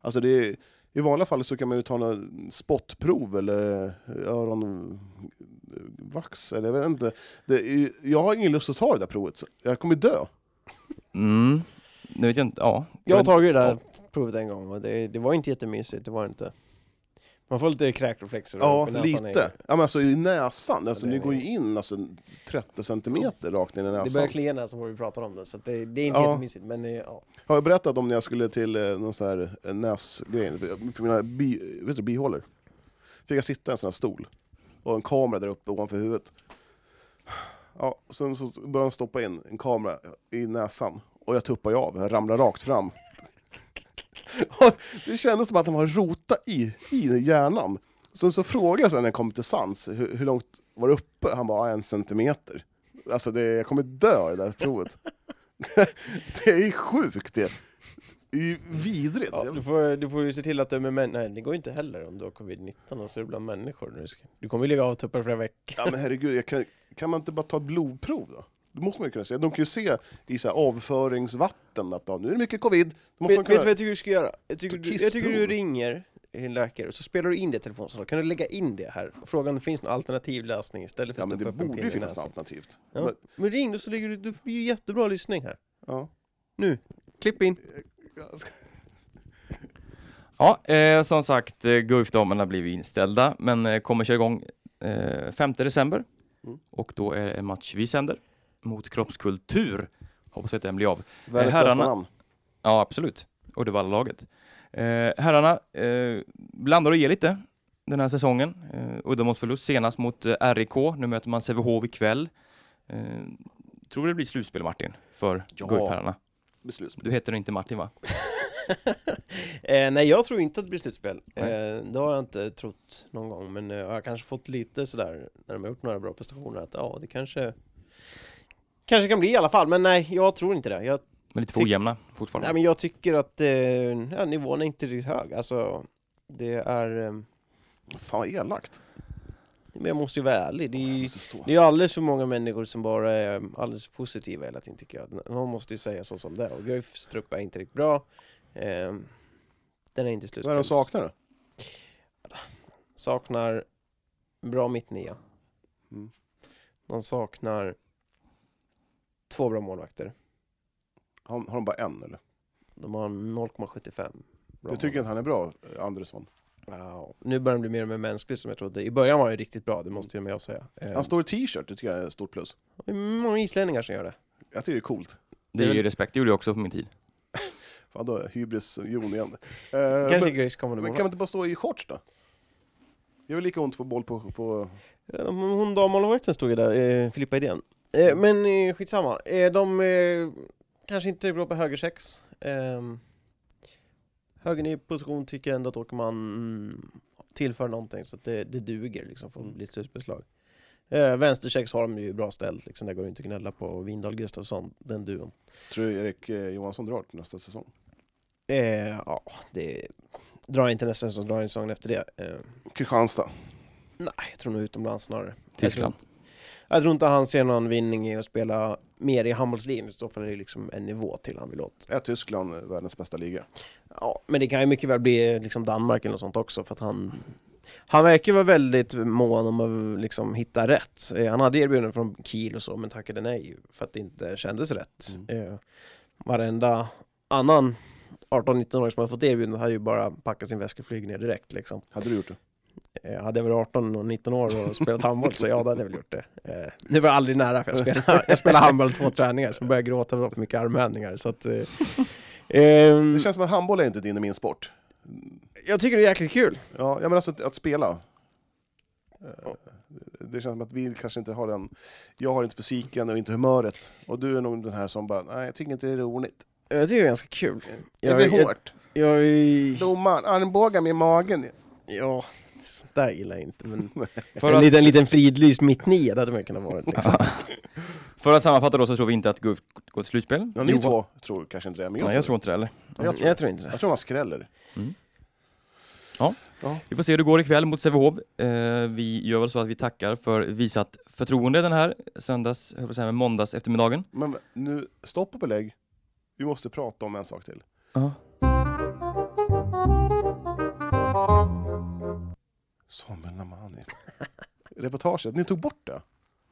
Alltså det är, I vanliga fall så kan man ju ta några spottprov eller eh, öronvax eller jag vet inte. Det är, ju- jag har ingen lust att ta det där provet, så jag kommer dö. Mm. Det vet jag inte. Ja. Jag har tagit det där provet en gång och det, det var inte jättemysigt, det var det inte. Man får lite kräkreflexer. Ja, på näsan. lite. Ja, men alltså i näsan, alltså, Ja, ni det är- går ju in alltså, 30 centimeter rakt in i Det näsan. börjar klia näsan när vi pratar om det, så att det, det är inte Alltså. Ja. jättemysigt. Men det, ja. Har jag berättat om när jag skulle till eh, någon sån här eh, näsgrej, för mina bi, vet du, bihålor? Fick jag sitta i en sån här stol, och en kamera där uppe ovanför huvudet. Ja, sen så började de stoppa in en kamera i näsan, och jag tuppar ju av, jag ramlar rakt fram. Och det kändes som att den var rota i, i hjärnan. Sen så frågade jag sen när jag kom till sans, hur, hur långt var det uppe? Han bara, "Ah, en centimeter. Alltså, det, jag kommer dö av det där provet. det är ju sjukt det. Det är ju vidrigt. Ja, Jag- du, får, du får ju se till att du är med män. Nej, det går ju inte heller om du har covid-19 och så är du bland människor. Du, ska, du kommer ju ligga avtuppad flera veckor. Ja men herregud, jag kan, kan man inte bara ta blodprov då? Det måste man ju kunna se. De kan ju se i så här avföringsvatten att ja, nu är det mycket covid. Då måste Vet, man vet du kunna... vad jag tycker du ska göra? Jag tycker, du, jag tycker du Kissprov. ringer en läkare och så spelar du in det i telefonsamtalet. Kan du lägga in det här? Och Fråga om det finns någon alternativ lösning istället för Ja att men stoppa det upp en borde ju pinne i finnas något näsan. alternativt. Ja. Men, Men ring då så ligger du, du får ju jättebra lyssning här. ja. Klipp in. Ja, eh, som sagt, eh, Guif-damerna blev ju inställda, men eh, kommer köra igång eh, 5 december. Mm. Och då är det en match vi sänder mot Kroppskultur. Hoppas att den blir av. Världens herrarna- bästa namn. Ja, absolut. Uddevalla-laget. Eh, herrarna eh, blandar och ger lite den här säsongen. Eh, Uddemålsförlust senast mot eh, RIK. Nu möter man Sävehof ikväll. Eh, tror det blir slutspel, Martin, för Ja. Guif-herrarna. Besluts. Du heter inte Martin, va? Eh, nej, jag tror inte att det blir slutspel. Eh, Nej. det har jag inte trott någon gång, men eh, jag har kanske fått lite sådär när de har gjort några bra prestationer att ja, det kanske kanske kan bli i alla fall, men nej, jag tror inte det. Jag, Men lite för Ty- ojämna fortfarande. nej, men jag tycker att eh, ja, nivån är inte riktigt hög. Alltså, det är... Eh, Fan vad elakt. men jag måste ju vara ärlig. Det är, Måste stå. det är alldeles för många människor som bara är eh, alldeles positiva hela tiden tycker jag. Någon måste ju säga så som det är. och Guifs trupp är inte riktigt bra. Eh, den är inte slutspels... Vad är det de saknar då? saknar bra mittnia. Mm. De saknar två bra målvakter. Har, har de bara en eller? De har 0,75. bra Jag tycker att han är bra, eh, Andersson. målvakter. Wow. Nu börjar de bli mer och mer mänsklig som jag trodde. I början var han ju riktigt bra, det måste ju med jag säga. Eh, Han står i t-shirt, det tycker jag är ett stort plus. det är många islänningar som gör det. Jag tycker det är coolt. Det är ju respekt, det gjorde jag också på min tid. Fan då, är hybris Jon igen. Eh, Kanske men, Guifs kommande men kan målvakt. man inte bara stå i shorts då? Det är väl lika ont för boll på... på... Ja, men Hon dammålvakten stod ju där, eh, Filippa Idén. Eh, men eh, skitsamma, eh, de eh, kanske inte är bra på högersex. Eh, högern i position tycker jag ändå att Åkerman mm, tillför någonting så att det, det duger liksom för att bli ett slutspelslag. Eh, vänstersex har de ju bra ställt liksom, där går det inte att gnälla på Windahl Gustafsson, den duon. Tror du Erik eh, Johansson drar till nästa säsong? Eh, ja, det drar inte nästan som drar en säsongen efter det. Eh, Kristianstad. nej, jag tror nog utomlands snarare. Tyskland. Jag tror inte han ser någon vinning i att spela mer i handbollsligan, i så fall är det liksom en nivå till han vill åt. Är Tyskland eh, världens bästa liga? Ja, men det kan ju mycket väl bli liksom Danmark eller något sånt också, för att han... Han verkar vara väldigt mån om att liksom hitta rätt. Eh, Han hade erbjudanden från Kiel och så, men tackade nej för att det inte kändes rätt. Eh, varenda annan 18-19-åring som har fått erbjudande har ju bara packat sin väska och flugit ner direkt liksom. Hade du gjort det? Eh, hade jag varit 18 och 19 år och spelat handboll så ja, då hade jag väl gjort det. Eh, det var aldrig nära för jag spelade, jag spelade handboll två träningar, sen började jag gråta för att det var för mycket armhävningar. Så att, eh, ehm, Det känns som att handboll är inte din och min sport. jag tycker det är jäkligt kul. Ja, ja men alltså att, att spela. Eh, Det känns som att vi kanske inte har den... Jag har inte fysiken och inte humöret. Och du är nog den här som bara, nej jag tycker inte det är roligt. Jag tycker det är ganska kul. Det blir jag, hårt. jag, jag, Domaren, armbågar med magen. ja, sånt där gillar jag inte. Men För en att, liten, liten fridlyst mitt nio, det hade man kunnat vara. Liksom. för att sammanfatta då så tror vi inte att Guif går till slutspel. Ja, ni Johan- två tror kanske inte det, men jag, Nej, jag tror inte det heller. jag tror- jag tror inte det. jag tror man skräller. Vi får se hur det går ikväll mot Sävehof. Eh, vi gör väl så att vi tackar för visat förtroende den här söndags, höll jag på att säga, men måndags eftermiddagen. Men nu, stopp och belägg. Vi måste prata om en sak till. Samuel Namani. Reportaget, ni tog bort det?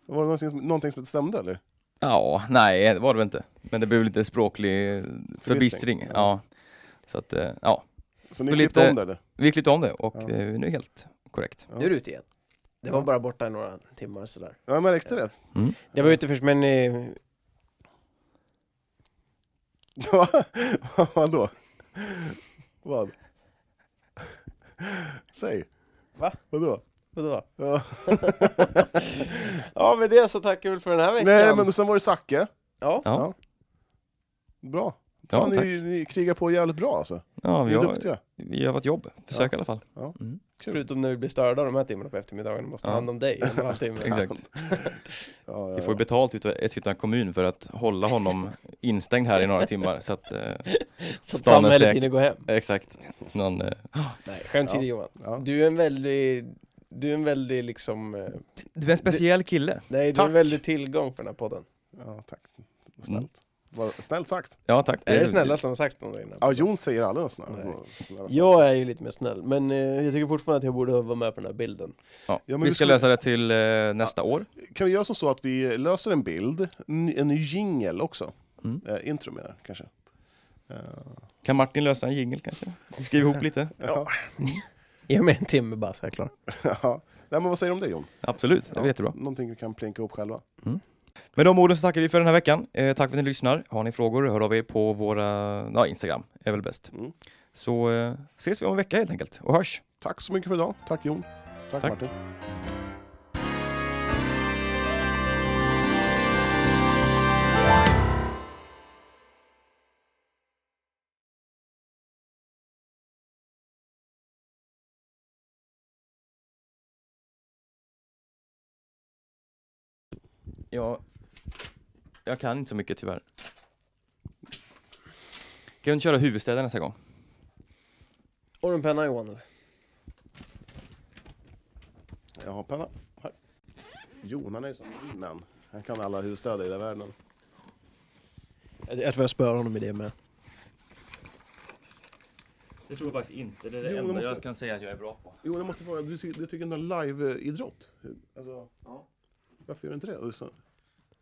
Var det någonting som, någonting som inte stämde eller? Ja, nej det var det väl inte. Men det blev lite språklig eh, förbistring. Ja. Så att, eh, ja. Så ni Och klippte lite- om det eller? Vi klippte om det och Ja. det är nu helt korrekt. Ja. Nu är du ute igen. Det var bara borta i några timmar sådär. Ja, jag märkte det. Mm. Jag var ute först men... Eh, Vadå? Vad? Säg. Va? Vadå? vadå? Ja. Ja med det så tackar vi väl för den här veckan. Nej, men sen var det Zacke. Ja. Ja. Bra. Ja, Fan, tack. ni, ni krigar på jävligt bra alltså. Ja, Ni vi är har, duktiga. vi gör vårt jobb. Försök i alla fall. Förutom när vi blir störda av de här timmarna på eftermiddagen och måste ta Ja. hand om dig om en halvtimme. Exakt. Ja, ja, Vi får ju betalt utav Eskilstuna kommun för att hålla honom instängd här i några timmar. Så att, eh, Så att Stan är samhället säker. hinner gå hem. exakt. Någon, eh, Nej, skämt åsido Johan. ja. Du är en väldigt, du är en väldigt liksom, eh, du är en speciell kille. nej du är en väldigt tillgång för den här podden. ja, tack. Snällt. Mm. Vad- Snällt sagt. Ja, tack. Det är det snälla som har sagt om dig innan. Ja, Jon säger alla snälla, Nej. snälla, snälla Jag är ju lite mer snäll, men eh, jag tycker fortfarande att jag borde vara med på den här bilden. Ja. Ja, men vi du ska skulle- lösa det till eh, nästa år. Kan vi göra som så att vi löser en bild, en en ny jingel också? Mm. Eh, intro menar jag kanske. Eh, Kan Martin lösa en jingel kanske? Skriv ihop lite. Ge mig en timme bara så är jag klar. ja. Nej, men vad säger du om det Jon? Absolut, det var jättebra. Någonting vi kan plinka ihop själva. Med de orden så tackar vi för den här veckan. Eh, tack för att ni lyssnar. Har ni frågor, hör av er på våra ja, Instagram. är väl bäst. Mm. Så eh, ses vi om en vecka helt enkelt och hörs. Tack så mycket för idag. Tack Jon. Tack, Tack. Martin. Jag, jag kan inte så mycket tyvärr. Kan du inte köra huvudstäder nästa gång? Och en penna Johan eller? Jag har penna. Här. Jon, han är ju som man. Han kan alla huvudstäder i hela världen. Jag, jag tror jag spöar honom i det med. Det tror jag faktiskt inte. Det är Jo, det enda måste- jag kan säga att jag är bra på. Jo, det måste vara, du, ty- du tycker den är live-idrott? Alltså, Ja. Varför gör du inte det? Och så-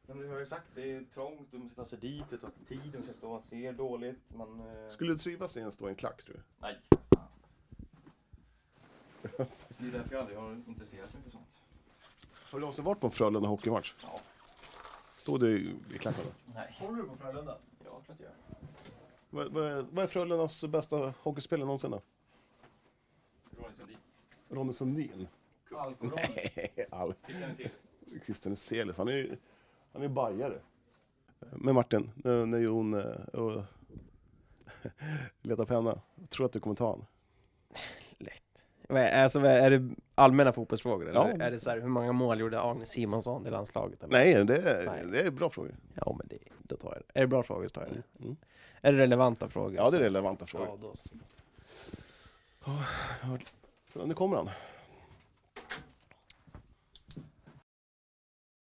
Men du har ju sagt, det är trångt, du måste ta sig dit, det tar tid, du ska stå, man ser dåligt, man... eh, Skulle du trivas i en stå i en klack tror du? Nej, Det är därför jag aldrig har intresserat mig för sånt. Har du någonsin varit på en Frölunda hockeymatch? Ja. Stod du i i klackarna? Nej. Håller du på Frölunda? Ja, klart jag gör. Vad, vad, är- vad är Frölundas bästa hockeyspelare någonsin då? Ronny Sundin. Ronny Sundin? Alkoron. All- Christian Selis, han är ju han är ju bajare. Men Martin, nu när Jon eh, och letar penna, tror att du kommer ta honom? Men, Alltså, vad- är det allmänna fotbollsfrågor eller? Ja. Är det så här, hur många mål gjorde Arne Simonsson i landslaget? Eller? Nej, det är, Nej. det är bra frågor. Ja men det, då tar jag det. Är det bra frågor så tar jag det. Mm. Är det relevanta frågor? Ja, det är så- relevanta Ja, frågor. då så. Så, nu kommer han.